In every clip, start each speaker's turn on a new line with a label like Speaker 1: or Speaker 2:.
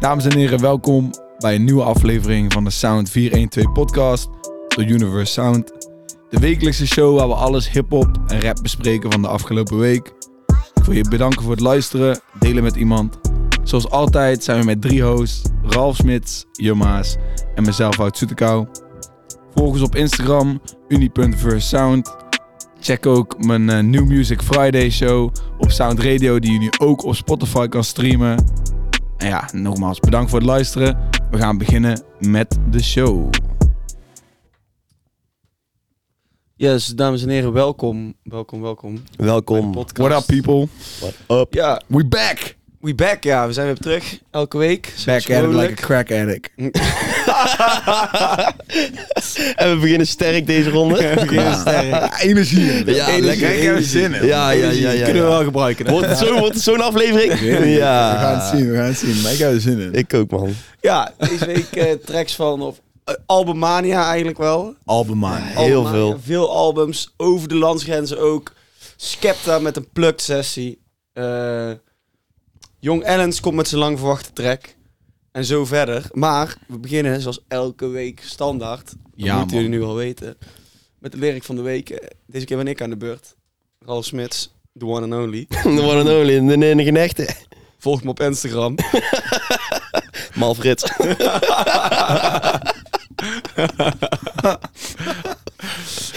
Speaker 1: Dames en heren, welkom bij een nieuwe aflevering van de Sound 412 podcast door Universe Sound. De wekelijkse show waar we alles hip-hop en rap bespreken van de afgelopen week. Ik wil je bedanken voor het luisteren, delen met iemand. Zoals altijd zijn we met drie hosts, Ralf Smits, Jomaas en mezelf Hout Zoetekou. Volg ons op Instagram, uni.versound. Check ook mijn eh, New Music Friday show op Sound Radio, die je nu ook op Spotify kan streamen. En ja, nogmaals bedankt voor het luisteren. We gaan beginnen met de show.
Speaker 2: Yes, dames en heren, welkom. Welkom, welkom. bij de
Speaker 3: Welkom.
Speaker 2: podcast.
Speaker 1: What up people?
Speaker 3: What up?
Speaker 2: Ja,
Speaker 1: We back!
Speaker 2: we back, ja. We zijn weer terug. Elke week. zoals
Speaker 1: Back at it like a
Speaker 2: gewoonlijk.
Speaker 1: crack addict.
Speaker 3: en we beginnen sterk deze ronde. Ah,
Speaker 1: Ja, energie. in.
Speaker 3: Ja, lekker.
Speaker 1: Ik heb er zin in.
Speaker 3: Ja, ja, ja, ja.
Speaker 2: Kunnen we
Speaker 3: ja.
Speaker 2: wel gebruiken. hè?
Speaker 3: Wordt het zo- wordt het zo'n aflevering?
Speaker 1: We gaan het zien, we gaan het zien. Maar ik heb er zin in.
Speaker 3: Ik ook, man.
Speaker 2: Ja, deze week eh, tracks van of, eh, Albumania eigenlijk wel.
Speaker 1: Album man.
Speaker 3: Heel
Speaker 2: Albumania,
Speaker 3: veel.
Speaker 2: Veel albums, over de landsgrenzen ook. Skepta met een plukt sessie. Eh, Jong Ellens komt met zijn lang verwachte track. En zo verder. Maar we beginnen zoals elke week standaard. Dat
Speaker 1: Ja,
Speaker 2: moeten
Speaker 1: man.
Speaker 2: jullie nu al weten. Met de lyric van de week. Eh, Deze keer ben ik aan de beurt. Ralf Smits, the one and only.
Speaker 3: The one and only in de enige echte.
Speaker 2: Volg me op Instagram.
Speaker 3: Malfrit.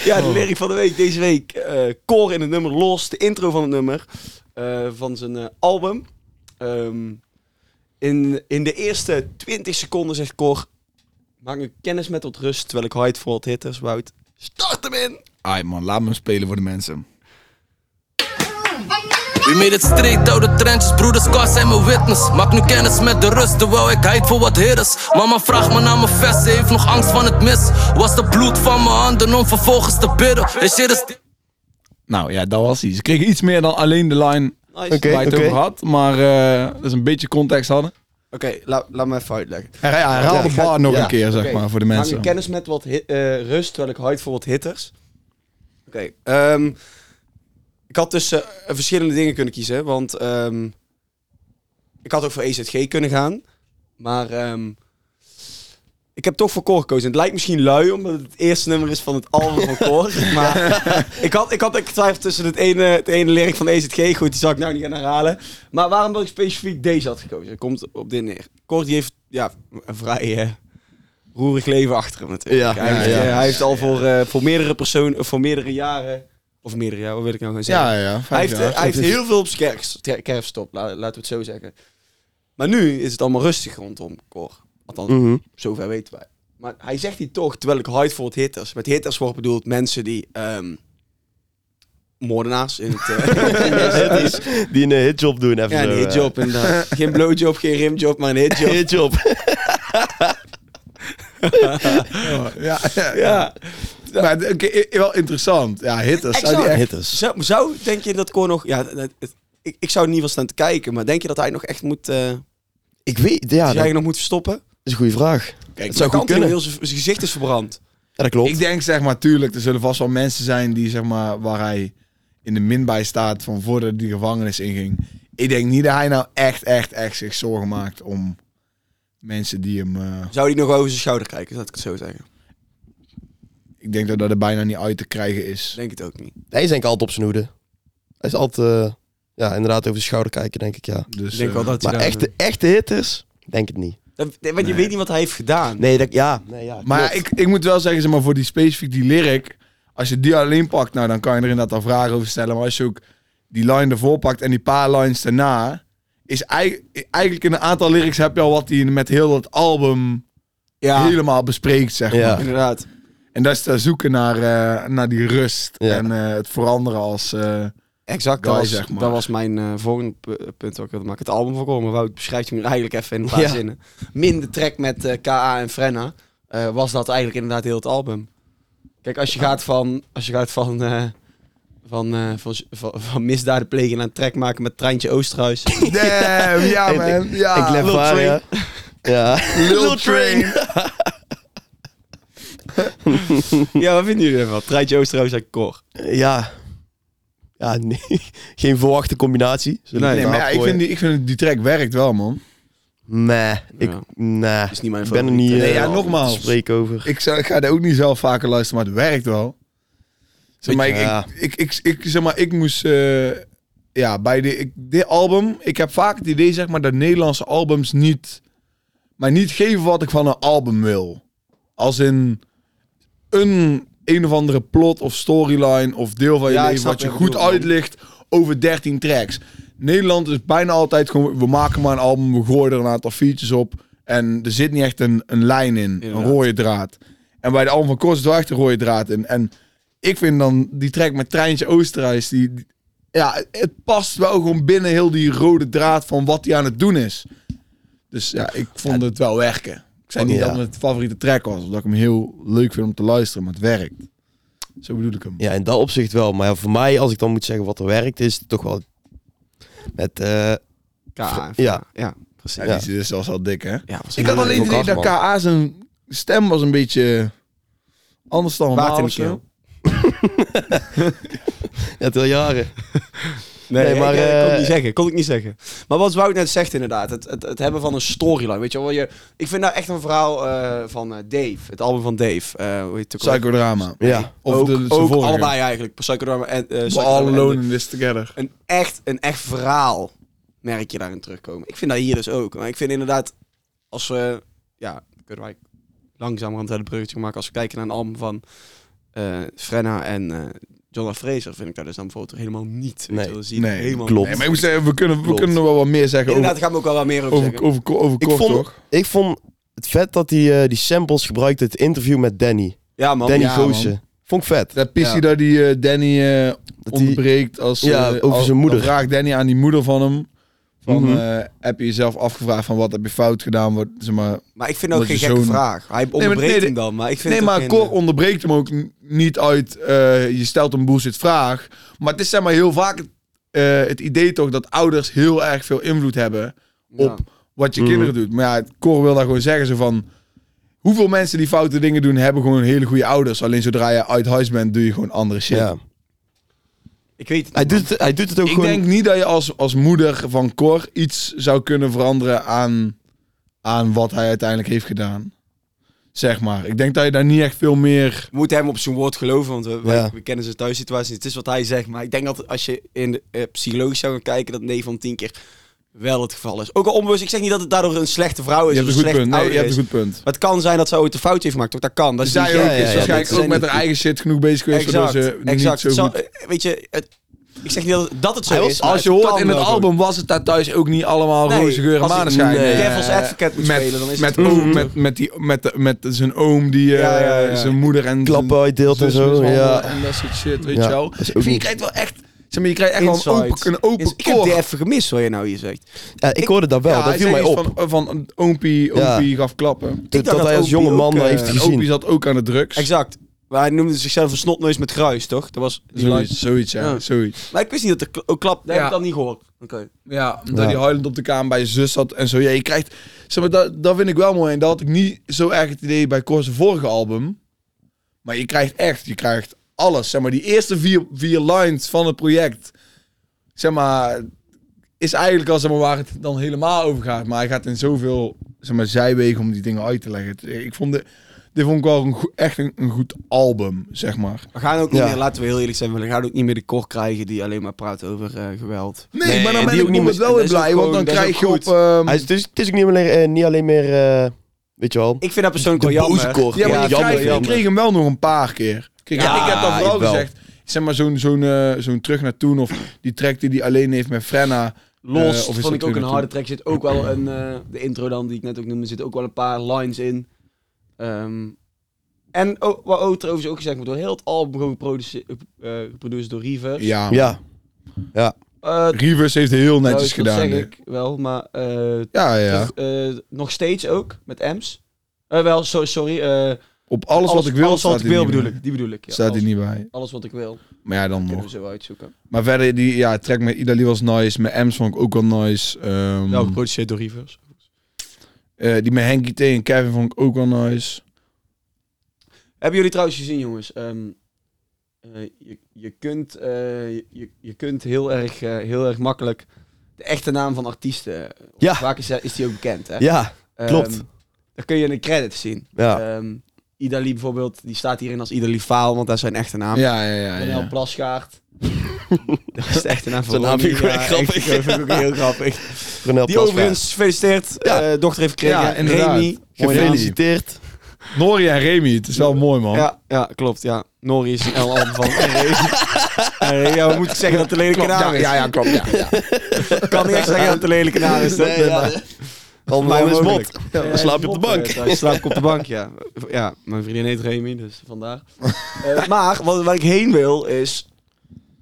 Speaker 2: Ja, de lyric van de week deze week. eh core in het nummer Los, de intro van het nummer. eh, van zijn eh, album. Ehm, in, in de eerste 20 seconden zegt Cor... Maak me kennis met tot rust, terwijl ik hide voor wat hitters, Wout. Start hem in!
Speaker 1: Aight man, laat me hem spelen voor de mensen.
Speaker 4: Wie made het streed, oude trenches, broeders, cars zijn mijn witness. Maak nu kennis met de rust, terwijl ik heid voor wat heer is. Mama vraagt me naar mijn vest, ze heeft nog angst van het mis. Was de bloed van mijn handen om vervolgens te bidden. This shit is
Speaker 1: Nou ja, dat was hij. Ze kregen iets meer dan alleen de line
Speaker 2: Nice.
Speaker 3: Oké.
Speaker 1: waar je het over had. Maar eh, dat is een beetje context hadden.
Speaker 2: Oké, la- laat me even uitleggen.
Speaker 1: Ja, ja, herhaal
Speaker 3: Ja,
Speaker 1: de
Speaker 3: ik
Speaker 1: bar
Speaker 3: ga-
Speaker 1: nog
Speaker 3: ja,
Speaker 1: een keer, zeg
Speaker 2: Oké,
Speaker 1: maar, voor de
Speaker 2: Maak
Speaker 1: mensen.
Speaker 2: je kennis met wat hi- eh, rust, terwijl ik hide voor wat hitters. Oké. ehm, ik had dus eh, verschillende dingen kunnen kiezen, want ehm, ik had ook voor EZG kunnen gaan. Maar ehm, ik heb toch voor Cor gekozen. Het lijkt misschien lui, omdat het het eerste nummer is van het album van Cor. maar ik had, ik had echt twijfel tussen het ene, het ene lyric van EZG. Goed, die zal ik nou niet gaan herhalen. Maar waarom dat ik specifiek deze had gekozen? Komt op dit neer. Cor die heeft ja, een vrij eh, roerig leven achter hem natuurlijk.
Speaker 3: Ja,
Speaker 2: hij,
Speaker 3: ja,
Speaker 2: heeft,
Speaker 3: ja.
Speaker 2: eh, hij heeft al voor, eh, voor meerdere personen, voor meerdere jaren... Of meerdere jaren, wat wil ik nou gaan zeggen?
Speaker 1: Ja, ja, vijf
Speaker 2: Hij heeft,
Speaker 1: jaar.
Speaker 2: eh, hij heeft heel veel op zijn kerf- ter- kerf stop, la- laten we het zo zeggen. Maar nu is het allemaal rustig rondom Cor. Althans,
Speaker 1: Mm.
Speaker 3: Mhm.
Speaker 2: zover weten wij. Maar hij zegt die toch, terwijl ik hide voor het hitters. Met hitters wordt bedoeld mensen die... ehm, moordenaars in het... eh,
Speaker 3: Het is Die een hitjob doen even
Speaker 2: ja,
Speaker 3: zo,
Speaker 2: een
Speaker 3: eh.
Speaker 2: hitjob inderdaad. Geen blowjob, geen rimjob, maar een hitjob.
Speaker 3: Hitjob.
Speaker 1: Ja, ja, ja.
Speaker 2: Ja.
Speaker 1: Maar oké, i- i- wel interessant. Ja, hitters. Zou die
Speaker 2: Exact.
Speaker 1: echt...
Speaker 3: Hitters.
Speaker 2: Zou, zou, denk je dat Cor nog... Ja, dat- het- ik, ik zou in ieder geval staan te kijken. Maar denk je dat hij nog echt moet... eh
Speaker 3: Ik weet, ja,
Speaker 2: dat
Speaker 3: dat
Speaker 2: hij nog moet verstoppen?
Speaker 3: is een goede vraag.
Speaker 1: Kijk,
Speaker 3: Het zou
Speaker 2: Dan
Speaker 3: goed
Speaker 2: kan hij
Speaker 3: kunnen.
Speaker 2: heel zijn zijn gezicht is verbrand.
Speaker 3: Ja, dat klopt.
Speaker 1: Ik denk zeg maar, tuurlijk, er zullen vast wel mensen zijn die zeg maar, waar hij in de min bij staat van voordat hij die gevangenis inging. Ik denk niet dat hij nou echt, echt, echt zich zorgen maakt om mensen die hem... eh,
Speaker 2: Zou hij nog over zijn schouder kijken, laat ik het zo zeggen.
Speaker 1: ik denk dat dat er bijna niet uit te krijgen is.
Speaker 2: Denk het ook niet.
Speaker 3: Hij is denk ik altijd op zijn hoede. Hij is altijd, eh, ja, inderdaad over de schouder kijken, denk ik, ja.
Speaker 1: Dus,
Speaker 2: Ik denk
Speaker 1: eh,
Speaker 2: wel dat hij
Speaker 3: Maar
Speaker 2: daar-
Speaker 3: echte, echte hitters, denk het niet.
Speaker 2: Dat- nee, want je weet niet wat hij heeft gedaan.
Speaker 3: Nee, dat, ja. Nee, ja
Speaker 1: Maar ja, ik, ik moet wel zeggen, zeg maar, voor die specifiek die lyric, als je die alleen pakt, nou dan kan je er inderdaad al vragen over stellen. Maar als je ook die line ervoor pakt en die paar lines daarna, is eig- eigenlijk in een aantal lyrics heb je al wat hij met heel dat album
Speaker 2: Ja,
Speaker 1: helemaal bespreekt, zeg maar.
Speaker 3: Ja.
Speaker 2: inderdaad.
Speaker 1: En dat is te zoeken naar, eh, naar die rust
Speaker 3: Ja.
Speaker 1: en eh, het veranderen als... eh,
Speaker 2: Exact, dat
Speaker 1: Guy,
Speaker 2: was,
Speaker 1: zeg maar.
Speaker 2: dat was mijn eh, volgende pu- punt wat ik wilde maken. Het album van Cor, maar Wout beschrijft hem eigenlijk even in een paar
Speaker 3: Ja.
Speaker 2: zinnen. Minder track met eh, K.A. en Frenna eh, was dat eigenlijk inderdaad heel het album. Kijk, als je gaat van, als je gaat van, eh, van, eh, van, van, van misdaden plegen naar een track maken met Treintje Oosterhuis.
Speaker 1: damn, ja
Speaker 3: Ik-
Speaker 1: man, ja.
Speaker 3: ik lef
Speaker 2: Lil
Speaker 3: haar,
Speaker 2: Train.
Speaker 3: ja. Ja.
Speaker 1: Ah, Lil Train.
Speaker 2: ja, wat vinden jullie ervan? Treintje Oosterhuis en Cor.
Speaker 3: Ja. Ja, nee. Geen verwachte combinatie. Zullen we
Speaker 1: Nee,
Speaker 3: het
Speaker 1: maar ja,
Speaker 3: eraf
Speaker 1: ik
Speaker 3: gooien?
Speaker 1: vind, die, ik vind die track werkt wel, man.
Speaker 3: Meh, ik,
Speaker 2: Ja.
Speaker 3: nee,
Speaker 2: Is niet mijn
Speaker 3: ik ben er
Speaker 2: favoriet,
Speaker 3: niet
Speaker 2: hè?
Speaker 3: eh,
Speaker 1: Nee, ja,
Speaker 3: om
Speaker 1: nogmaals.
Speaker 3: te spreken over.
Speaker 1: Ik, zou, ik ga er ook niet zelf vaker luisteren, maar het werkt wel. Zeg maar, ik,
Speaker 3: Ja.
Speaker 1: ik, ik, ik, ik- zeg maar, ik moest... eh, ja, bij de, ik- dit album... Ik heb vaak het idee, zeg maar, dat Nederlandse albums niet... Maar niet geven wat ik van een album wil. Als in een een of andere plot of storyline of deel van je
Speaker 2: Ja, ik
Speaker 1: leven...
Speaker 2: snap
Speaker 1: wat je
Speaker 2: wat je
Speaker 1: goed
Speaker 2: bedoelt, man.
Speaker 1: uitlicht over 13 tracks. Nederland is bijna altijd gewoon... We maken maar een album, we gooien er een aantal features op... En er zit niet echt een, een lijn in, een
Speaker 2: Inderdaad.
Speaker 1: rode draad. En bij de Alm van Kors is wel echt een rode draad in. En ik vind dan die track met Treintje Oosterhuis, die, die- ja, het past wel gewoon binnen heel die rode draad van wat hij aan het doen is. Dus ja, ik vond het wel werken. Ik zei niet
Speaker 3: Ja.
Speaker 1: dat het mijn favoriete track was, omdat ik hem heel leuk vind om te luisteren, maar het werkt. Zo bedoel ik hem.
Speaker 3: Ja, in dat opzicht wel. Maar ja, voor mij, als ik dan moet zeggen wat er werkt, is het toch wel met... eh,
Speaker 2: K.
Speaker 3: Ja.
Speaker 2: ja, precies.
Speaker 1: Ja,
Speaker 2: Ja.
Speaker 3: Ja.
Speaker 1: Die is zelfs al dik, hè?
Speaker 2: was
Speaker 1: Ik had alleen
Speaker 3: eh,
Speaker 1: het idee dat
Speaker 3: Kasman.
Speaker 1: KA zijn stem was een beetje anders dan
Speaker 2: Water in
Speaker 1: normaal. of
Speaker 2: de
Speaker 1: zo.
Speaker 2: keel.
Speaker 3: ja, het al jaren.
Speaker 2: Nee,
Speaker 3: Nee,
Speaker 2: maar
Speaker 3: maar,
Speaker 2: ik, eh, kon ik niet
Speaker 3: eh,
Speaker 2: zeggen, kon ik niet zeggen. Maar wat Wout net zegt inderdaad, het, het, het hebben van een storyline, weet je wel. Je, ik vind nou echt een verhaal eh, van eh, Dave, het album van Dave. eh hoe heet het ook alweer?
Speaker 1: Psychodrama.
Speaker 3: Ja.
Speaker 1: Of
Speaker 2: ook,
Speaker 1: de, zijn
Speaker 2: ook
Speaker 1: vorige.
Speaker 2: allebei eigenlijk, Psychodrama en... eh,
Speaker 1: We
Speaker 2: Psychodrama
Speaker 1: all
Speaker 2: en
Speaker 1: alone
Speaker 2: de-
Speaker 1: in this together.
Speaker 2: een, echt, een echt verhaal merk je daarin terugkomen. Ik vind dat hier dus ook. Maar ik vind inderdaad, als we... Ja, kunnen wij langzamerhand het bruggetje maken. Als we kijken naar een album van eh, Frenna en... eh Jonah Fraser vind ik dat dus dan bijvoorbeeld helemaal niet. Weet
Speaker 3: Nee.
Speaker 2: je wel, zie je
Speaker 1: Nee,
Speaker 2: helemaal
Speaker 3: klopt.
Speaker 1: Nee, maar ik moet zeggen, we kunnen, we
Speaker 3: Klopt.
Speaker 1: kunnen er wel wat meer zeggen over,
Speaker 2: Inderdaad, daar gaan we ook wel wat meer over,
Speaker 1: over,
Speaker 2: zeggen.
Speaker 1: over, over,
Speaker 3: Ik
Speaker 1: kort,
Speaker 3: vond-
Speaker 1: toch?
Speaker 3: Ik vond het vet dat hij eh, die samples gebruikte, het interview met Danny.
Speaker 2: Ja, man.
Speaker 3: Danny
Speaker 1: ja,
Speaker 3: Goosen. Vond ik vet.
Speaker 1: Dat pissie
Speaker 2: Ja.
Speaker 1: dat die eh, Danny eh,
Speaker 3: Dat die-
Speaker 1: onderbreekt als...
Speaker 3: Ja,
Speaker 1: eh,
Speaker 3: over
Speaker 1: als-
Speaker 3: zijn moeder.
Speaker 1: Dan vraagt Danny aan die moeder van hem. Van,
Speaker 3: Mhm.
Speaker 1: eh, heb je jezelf afgevraagd van wat heb je fout gedaan? Wat, zeg maar,
Speaker 2: Maar ik vind ook
Speaker 1: Omdat
Speaker 2: geen
Speaker 1: je
Speaker 2: gekke
Speaker 1: zo'n-
Speaker 2: vraag. Hij onderbreekt
Speaker 1: nee,
Speaker 2: hem dan, maar ik vind
Speaker 1: nee,
Speaker 2: het ook
Speaker 1: maar
Speaker 2: geen- eh,
Speaker 1: Cor onderbreekt hem ook n- niet uit... eh, je stelt een bullshit vraag. Maar het is zeg maar heel vaak eh, het idee toch dat ouders heel erg veel invloed hebben...
Speaker 2: Ja.
Speaker 1: op wat je
Speaker 3: Mhm.
Speaker 1: kinderen doet. Maar ja, Cor wil daar gewoon zeggen zo van... Hoeveel mensen die foute dingen doen, hebben gewoon hele goede ouders. Alleen zodra je uit huis bent, doe je gewoon andere shit.
Speaker 3: Ja.
Speaker 2: Ik weet het
Speaker 3: Hij,
Speaker 2: niet,
Speaker 3: doet het, hij doet het ook
Speaker 1: Ik
Speaker 3: gewoon...
Speaker 1: denk niet dat je als, als moeder van Cor iets zou kunnen veranderen aan, aan wat hij uiteindelijk heeft gedaan. Zeg maar. Ik denk dat je daar niet echt veel meer...
Speaker 2: We moeten hem op zijn woord geloven, want we, wij-
Speaker 3: Ja.
Speaker 2: we kennen zijn thuissituatie. niet. Het is wat hij zegt, maar ik denk dat als je in de, eh, psychologisch zou gaan kijken, dat 9 van 10 keer wel het geval is. Ook al onbewust, ik zeg niet dat het daardoor een slechte vrouw
Speaker 1: Je
Speaker 2: is
Speaker 1: hebt
Speaker 2: of
Speaker 1: een
Speaker 2: een
Speaker 1: goed punt.
Speaker 2: slecht
Speaker 1: Nee,
Speaker 2: ouder
Speaker 1: je hebt een
Speaker 2: is.
Speaker 1: goed punt.
Speaker 2: Maar het kan zijn dat ze ooit een foutje heeft gemaakt, ook dat kan. Dat is
Speaker 1: Zij
Speaker 2: niet
Speaker 1: ook is
Speaker 3: ja, ja,
Speaker 1: waarschijnlijk
Speaker 3: dat
Speaker 1: ook
Speaker 3: zijn
Speaker 1: met
Speaker 3: die-
Speaker 1: haar eigen shit genoeg bezig geweest, waardoor
Speaker 2: exact,
Speaker 1: ze niet
Speaker 2: exact. Het
Speaker 1: zo
Speaker 2: zal-
Speaker 1: goed...
Speaker 2: eh, weet je, het- ik zeg niet dat, dat het zo
Speaker 3: Hij was-
Speaker 2: is. maar
Speaker 1: Als je
Speaker 2: kan
Speaker 1: hoort in het
Speaker 2: wel gewoon.
Speaker 1: album, was het daar thuis ook niet allemaal
Speaker 2: Nee,
Speaker 1: roze geur en
Speaker 2: als ik-
Speaker 1: maneschijn.
Speaker 2: nee.
Speaker 1: Eh,
Speaker 2: Devil's advocate moet
Speaker 1: met,
Speaker 2: spelen, dan is
Speaker 1: met,
Speaker 2: het-
Speaker 1: oom, met, met, die, met, de- met zijn oom die eh,
Speaker 2: Ja, ja, ja.
Speaker 1: zijn moeder en
Speaker 3: Klappen uitdeelt en
Speaker 1: zus
Speaker 3: zo.
Speaker 1: mishandelen
Speaker 3: Ja.
Speaker 1: En dat soort shit, weet
Speaker 3: Ja,
Speaker 1: je wel. Ik
Speaker 3: dat is ook
Speaker 1: vind, je
Speaker 3: niet-
Speaker 1: krijgt wel echt... Zeg maar, je krijgt echt wel een open,
Speaker 2: Insight.
Speaker 1: een open
Speaker 2: Is- Ik heb
Speaker 1: kor.
Speaker 2: die even gemist, wat je nou hier zegt.
Speaker 3: Ja, ik hoorde dat wel,
Speaker 1: Ja,
Speaker 3: dat
Speaker 1: hij
Speaker 3: viel
Speaker 1: zei
Speaker 3: mij
Speaker 1: iets
Speaker 3: op.
Speaker 1: Van, van een oompie,
Speaker 3: Ja.
Speaker 1: oompie gaf klappen.
Speaker 3: dat,
Speaker 2: dat
Speaker 3: hij als
Speaker 2: Opie
Speaker 3: jonge man
Speaker 2: ook,
Speaker 3: dat
Speaker 2: eh,
Speaker 3: heeft hij
Speaker 1: En oompie
Speaker 3: gezien.
Speaker 1: zat ook aan de drugs.
Speaker 2: Exact. Maar hij noemde zichzelf een snotneus met gruis, toch? Dat was die line.
Speaker 1: Zoiets, zoiets, ja.
Speaker 2: Ja.
Speaker 1: Zoiets.
Speaker 2: Maar ik wist niet dat de kl- oh, klap...
Speaker 1: Ja.
Speaker 2: Dat heb ik dan niet gehoord. Oké.
Speaker 1: Ja, dat
Speaker 3: Ja.
Speaker 1: hij huilend op de kamer bij zijn zus zat en zo. Ja, je krijgt... Zeg maar, dat, dat vind ik wel mooi. En dat had ik niet zo erg het idee bij Kor's vorige album. Maar je krijgt echt, je krijgt alles. Zeg maar, die eerste vier, vier lines van het project... Zeg maar... Is eigenlijk al zeg maar, waar het dan helemaal over gaat. Maar hij gaat in zoveel zeg maar, zijwegen om die dingen uit te leggen. Het- Ik vond de, dit vond ik wel een, goe- echt een, een goed album, zeg maar.
Speaker 2: We gaan ook niet
Speaker 3: Ja.
Speaker 2: meer, laten we heel eerlijk zijn, we gaan ook niet meer de kor krijgen die alleen maar praat over eh, geweld.
Speaker 1: Nee,
Speaker 3: Nee,
Speaker 1: maar dan
Speaker 3: en
Speaker 1: ben
Speaker 3: die
Speaker 1: ik
Speaker 3: ook
Speaker 1: bijvoorbeeld
Speaker 3: niet mis-
Speaker 1: wel
Speaker 2: dat
Speaker 1: weer
Speaker 2: is
Speaker 1: blij.
Speaker 2: ook
Speaker 1: Want dan
Speaker 2: gewoon- dat is
Speaker 1: krijg
Speaker 2: ook
Speaker 1: je op...
Speaker 2: goed.
Speaker 1: ehm,
Speaker 3: Hij is, dus, het is ook niet alleen, eh, niet alleen meer, eh, weet je wel,
Speaker 2: Ik vind dat persoonlijk
Speaker 3: de
Speaker 2: wel jammer.
Speaker 3: boze kor.
Speaker 1: Ja, maar
Speaker 2: Ja,
Speaker 1: je,
Speaker 2: jammer,
Speaker 1: krijgt- je
Speaker 2: jammer.
Speaker 1: kreeg hem wel nog een paar keer. Kijk,
Speaker 3: Ja,
Speaker 1: ik heb dat vooral
Speaker 3: wel.
Speaker 1: gezegd. Zeg maar zo'n zo'n eh, zo'n terug naar toen of die track die hij alleen heeft met Frenna. Eh,
Speaker 2: Los
Speaker 1: of is dat
Speaker 2: vond ik ook
Speaker 1: toen
Speaker 2: een
Speaker 1: en
Speaker 2: harde track. Zit ook wel een, eh, de intro dan, die ik net ook noemde, zit ook wel een paar lines in. Ehm, en o- wat ook trouwens ook gezegd moet worden, heel het album gewoon geproduce- eh, geproduceerd door River.
Speaker 1: Ja.
Speaker 3: ja.
Speaker 2: Eh,
Speaker 1: Rivers heeft heel
Speaker 2: nou,
Speaker 1: netjes
Speaker 2: dat
Speaker 1: gedaan.
Speaker 2: zeg
Speaker 1: dit.
Speaker 2: ik wel, maar eh,
Speaker 1: Ja, ja.
Speaker 2: Toch, eh, nog steeds ook, met Ems. Eh, wel, so- sorry. eh,
Speaker 1: Op alles, wat ik wil
Speaker 2: Alles
Speaker 1: staat
Speaker 2: wat ik
Speaker 1: hij
Speaker 2: wil
Speaker 1: niet
Speaker 2: bedoel
Speaker 1: bij.
Speaker 2: ik. Die bedoel ik. Ja.
Speaker 1: Staat
Speaker 2: alles,
Speaker 1: hij niet bij.
Speaker 2: alles wat ik wil.
Speaker 1: Maar ja, dan
Speaker 2: Kunnen we
Speaker 1: nog.
Speaker 2: zo uitzoeken.
Speaker 1: Maar verder, die ja, track met Idali was nice. Met Ems vond ik ook wel nice. Ehm,
Speaker 2: Nou, geproduceerd door Rivers.
Speaker 1: eh, die met Henky T en Kevin vond ik ook wel nice.
Speaker 2: Hebben jullie trouwens gezien, jongens? ehm, eh, je, je, kunt, eh, je, je kunt heel erg, eh, heel erg makkelijk de de echte naam van artiesten. eh,
Speaker 3: Ja.
Speaker 2: Vaak is, is die ook bekend, hè?
Speaker 3: Ja,
Speaker 2: Ehm,
Speaker 3: klopt.
Speaker 2: dan kun je in de credits zien.
Speaker 3: ja.
Speaker 2: Ehm, Idali bijvoorbeeld, die staat hierin als Idali Faal, want dat is zijn echte naam.
Speaker 1: Ja, ja, ja.
Speaker 2: Daniel
Speaker 1: ja.
Speaker 2: Plasgaard. dat is de echte naam van
Speaker 3: Zijn naam
Speaker 2: Ronnie,
Speaker 3: vind ik wel echt
Speaker 2: ja,
Speaker 3: grappig.
Speaker 2: Dat vind ik ook heel grappig.
Speaker 3: Ronel
Speaker 2: Die
Speaker 3: Plasgaard.
Speaker 2: overigens, gefeliciteerd,
Speaker 3: Ja.
Speaker 2: eh, dochter heeft gekregen.
Speaker 1: Ja, inderdaad.
Speaker 2: Remy.
Speaker 1: Mooi naam.
Speaker 3: Gefeliciteerd.
Speaker 1: Nori en Remy, het is wel mooi, man.
Speaker 2: Ja, ja, klopt, ja. Nori is een L album van en Remy. En Remy, ja, we moeten zeggen dat het een lelijke
Speaker 1: Klopt,
Speaker 2: naam
Speaker 1: ja,
Speaker 2: is.
Speaker 1: ja, ja, klopt. Ja, ja.
Speaker 2: Ik kan niet echt zeggen dat het een lelijke naam is.
Speaker 3: Nee, ja. Allemaal
Speaker 2: Mij
Speaker 3: is
Speaker 2: mogelijk.
Speaker 3: mot. Dan slaap je op de bank.
Speaker 2: Dan slaap ik op de bank, ja. Ja, mijn vriendin heet Remy, dus vandaar. Eh, maar wat, waar ik heen wil is...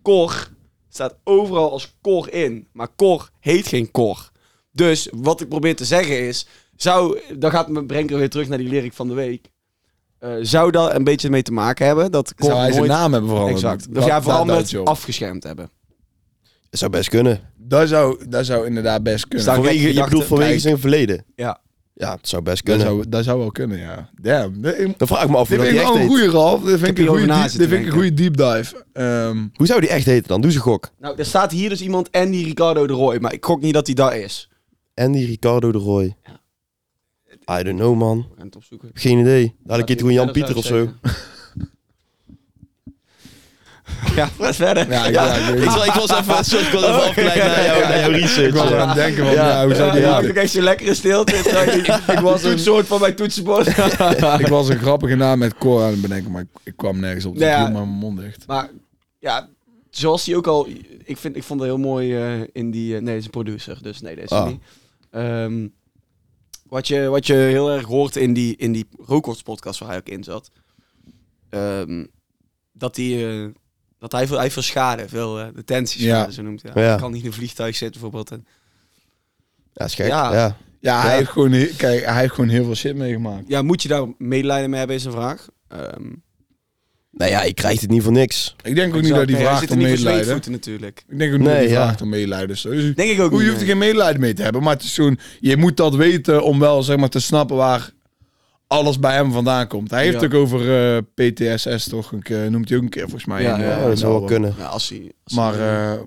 Speaker 2: Cor staat overal als Cor in. Maar Cor heet geen Cor. Dus wat ik probeer te zeggen is... Zou, dan gaat me brengen weer terug naar die lyric van de week. Eh, zou dat een beetje mee te maken hebben? Dat Cor
Speaker 1: Zou hij zijn
Speaker 2: nooit...
Speaker 1: naam hebben veranderd?
Speaker 2: Exact. Dus
Speaker 1: Dat-
Speaker 2: ja, vooral
Speaker 1: dat- dat
Speaker 2: met
Speaker 1: joh.
Speaker 2: afgeschermd hebben.
Speaker 3: Dat zou best kunnen.
Speaker 1: Dat zou, dat zou inderdaad best kunnen.
Speaker 2: Zou-
Speaker 3: Vanwege, je
Speaker 2: gedachte.
Speaker 3: bedoelt vanwege
Speaker 1: Kijk.
Speaker 3: zijn verleden.
Speaker 2: Ja.
Speaker 3: Ja, het zou best
Speaker 1: dat,
Speaker 3: kunnen.
Speaker 1: zou, dat zou wel kunnen, ja. Damn. Dit dit
Speaker 3: Dan vraag ik me af hoe
Speaker 1: vind
Speaker 3: dat
Speaker 1: ik
Speaker 3: die echt
Speaker 1: wel een
Speaker 3: heet.
Speaker 1: goede Ralf. Dit vind ik
Speaker 2: hier
Speaker 1: een goede
Speaker 2: over na
Speaker 1: diep-
Speaker 2: zitten
Speaker 1: dit vind ik een goede deep dive. Ehm,
Speaker 3: Hoe zou die echt heten dan? Doe eens een gok.
Speaker 2: Nou, er staat hier dus iemand en die Ricardo de Roy. Maar ik gok niet dat hij daar is.
Speaker 3: Andy Ricardo de Roy. I don't know, man.
Speaker 2: We gaan het opzoeken.
Speaker 3: Geen idee. Dadelijk heet gewoon Jan
Speaker 2: Ja, dat
Speaker 3: Pieter of
Speaker 2: zou
Speaker 3: zo.
Speaker 2: ik zeggen. ja, wat verder. Oh,
Speaker 1: ja, ik, ja, ik,
Speaker 3: Ik, was- ik was even, sorry, ik was even afgeleid naar jouw, naar jouw
Speaker 1: ik was aan
Speaker 3: research.
Speaker 1: het denken van,
Speaker 3: Ja.
Speaker 1: ja, hoe zou
Speaker 2: Ja,
Speaker 1: die
Speaker 2: je maakt
Speaker 1: heten?
Speaker 2: ook echt zo'n lekkere stilte. terwijl je die- Ik was een soort van mijn toetsenbord.
Speaker 1: Ik was een grappige naam met Cor aan het bedenken, maar ik, ik kwam nergens op. Dus
Speaker 2: Ja.
Speaker 1: ik hield maar mijn mond dicht.
Speaker 2: maar ja, zoals hij ook al... Ik, vind, ik vond het heel mooi eh, in die... eh, nee, het is een producer, dus nee, deze
Speaker 3: Ah.
Speaker 2: niet. Ehm, wat, je, wat je heel erg hoort in die, in die Rokorts podcast waar hij ook in zat... ehm, dat, die, eh, dat hij, veel, hij veel schade, veel eh, detentieschade,
Speaker 1: Ja.
Speaker 2: zo noemt hij.
Speaker 3: Ja.
Speaker 2: Hij kan niet in een vliegtuig zitten bijvoorbeeld. En,
Speaker 3: Ja, is gek.
Speaker 2: Ja.
Speaker 3: Ja.
Speaker 1: Ja, hij
Speaker 3: Ja.
Speaker 1: heeft gewoon, he- kijk, hij heeft gewoon heel veel shit meegemaakt.
Speaker 2: Ja, moet je daar medelijden mee hebben, is een vraag. Ehm
Speaker 3: Nou ja, je krijgt het niet voor niks.
Speaker 1: Ik denk ook niet
Speaker 2: exact.
Speaker 1: dat die
Speaker 2: Nee, hij
Speaker 1: vraagt
Speaker 2: zit
Speaker 1: om
Speaker 2: er niet voor
Speaker 1: medelijden.
Speaker 2: zweetvoeten natuurlijk.
Speaker 1: Ik denk ook niet
Speaker 3: Nee,
Speaker 1: dat die
Speaker 3: ja.
Speaker 1: vraagt om medelijden. Dus sowieso-
Speaker 2: Denk ik ook
Speaker 1: Hoe,
Speaker 2: niet.
Speaker 1: je hoeft er
Speaker 2: nee.
Speaker 1: geen medelijden mee te hebben, maar het is zo'n, je moet dat weten om wel zeg maar, te snappen waar alles bij hem vandaan komt. Hij heeft
Speaker 2: Ja.
Speaker 1: ook over eh, PTSS toch, een keer, noemt hij ook een keer volgens mij.
Speaker 2: Ja,
Speaker 1: in, eh,
Speaker 2: ja,
Speaker 3: Ja, Oh, dat zou wel
Speaker 1: album.
Speaker 3: kunnen.
Speaker 2: Ja, als hij... als
Speaker 1: Maar,
Speaker 2: hij-
Speaker 1: eh,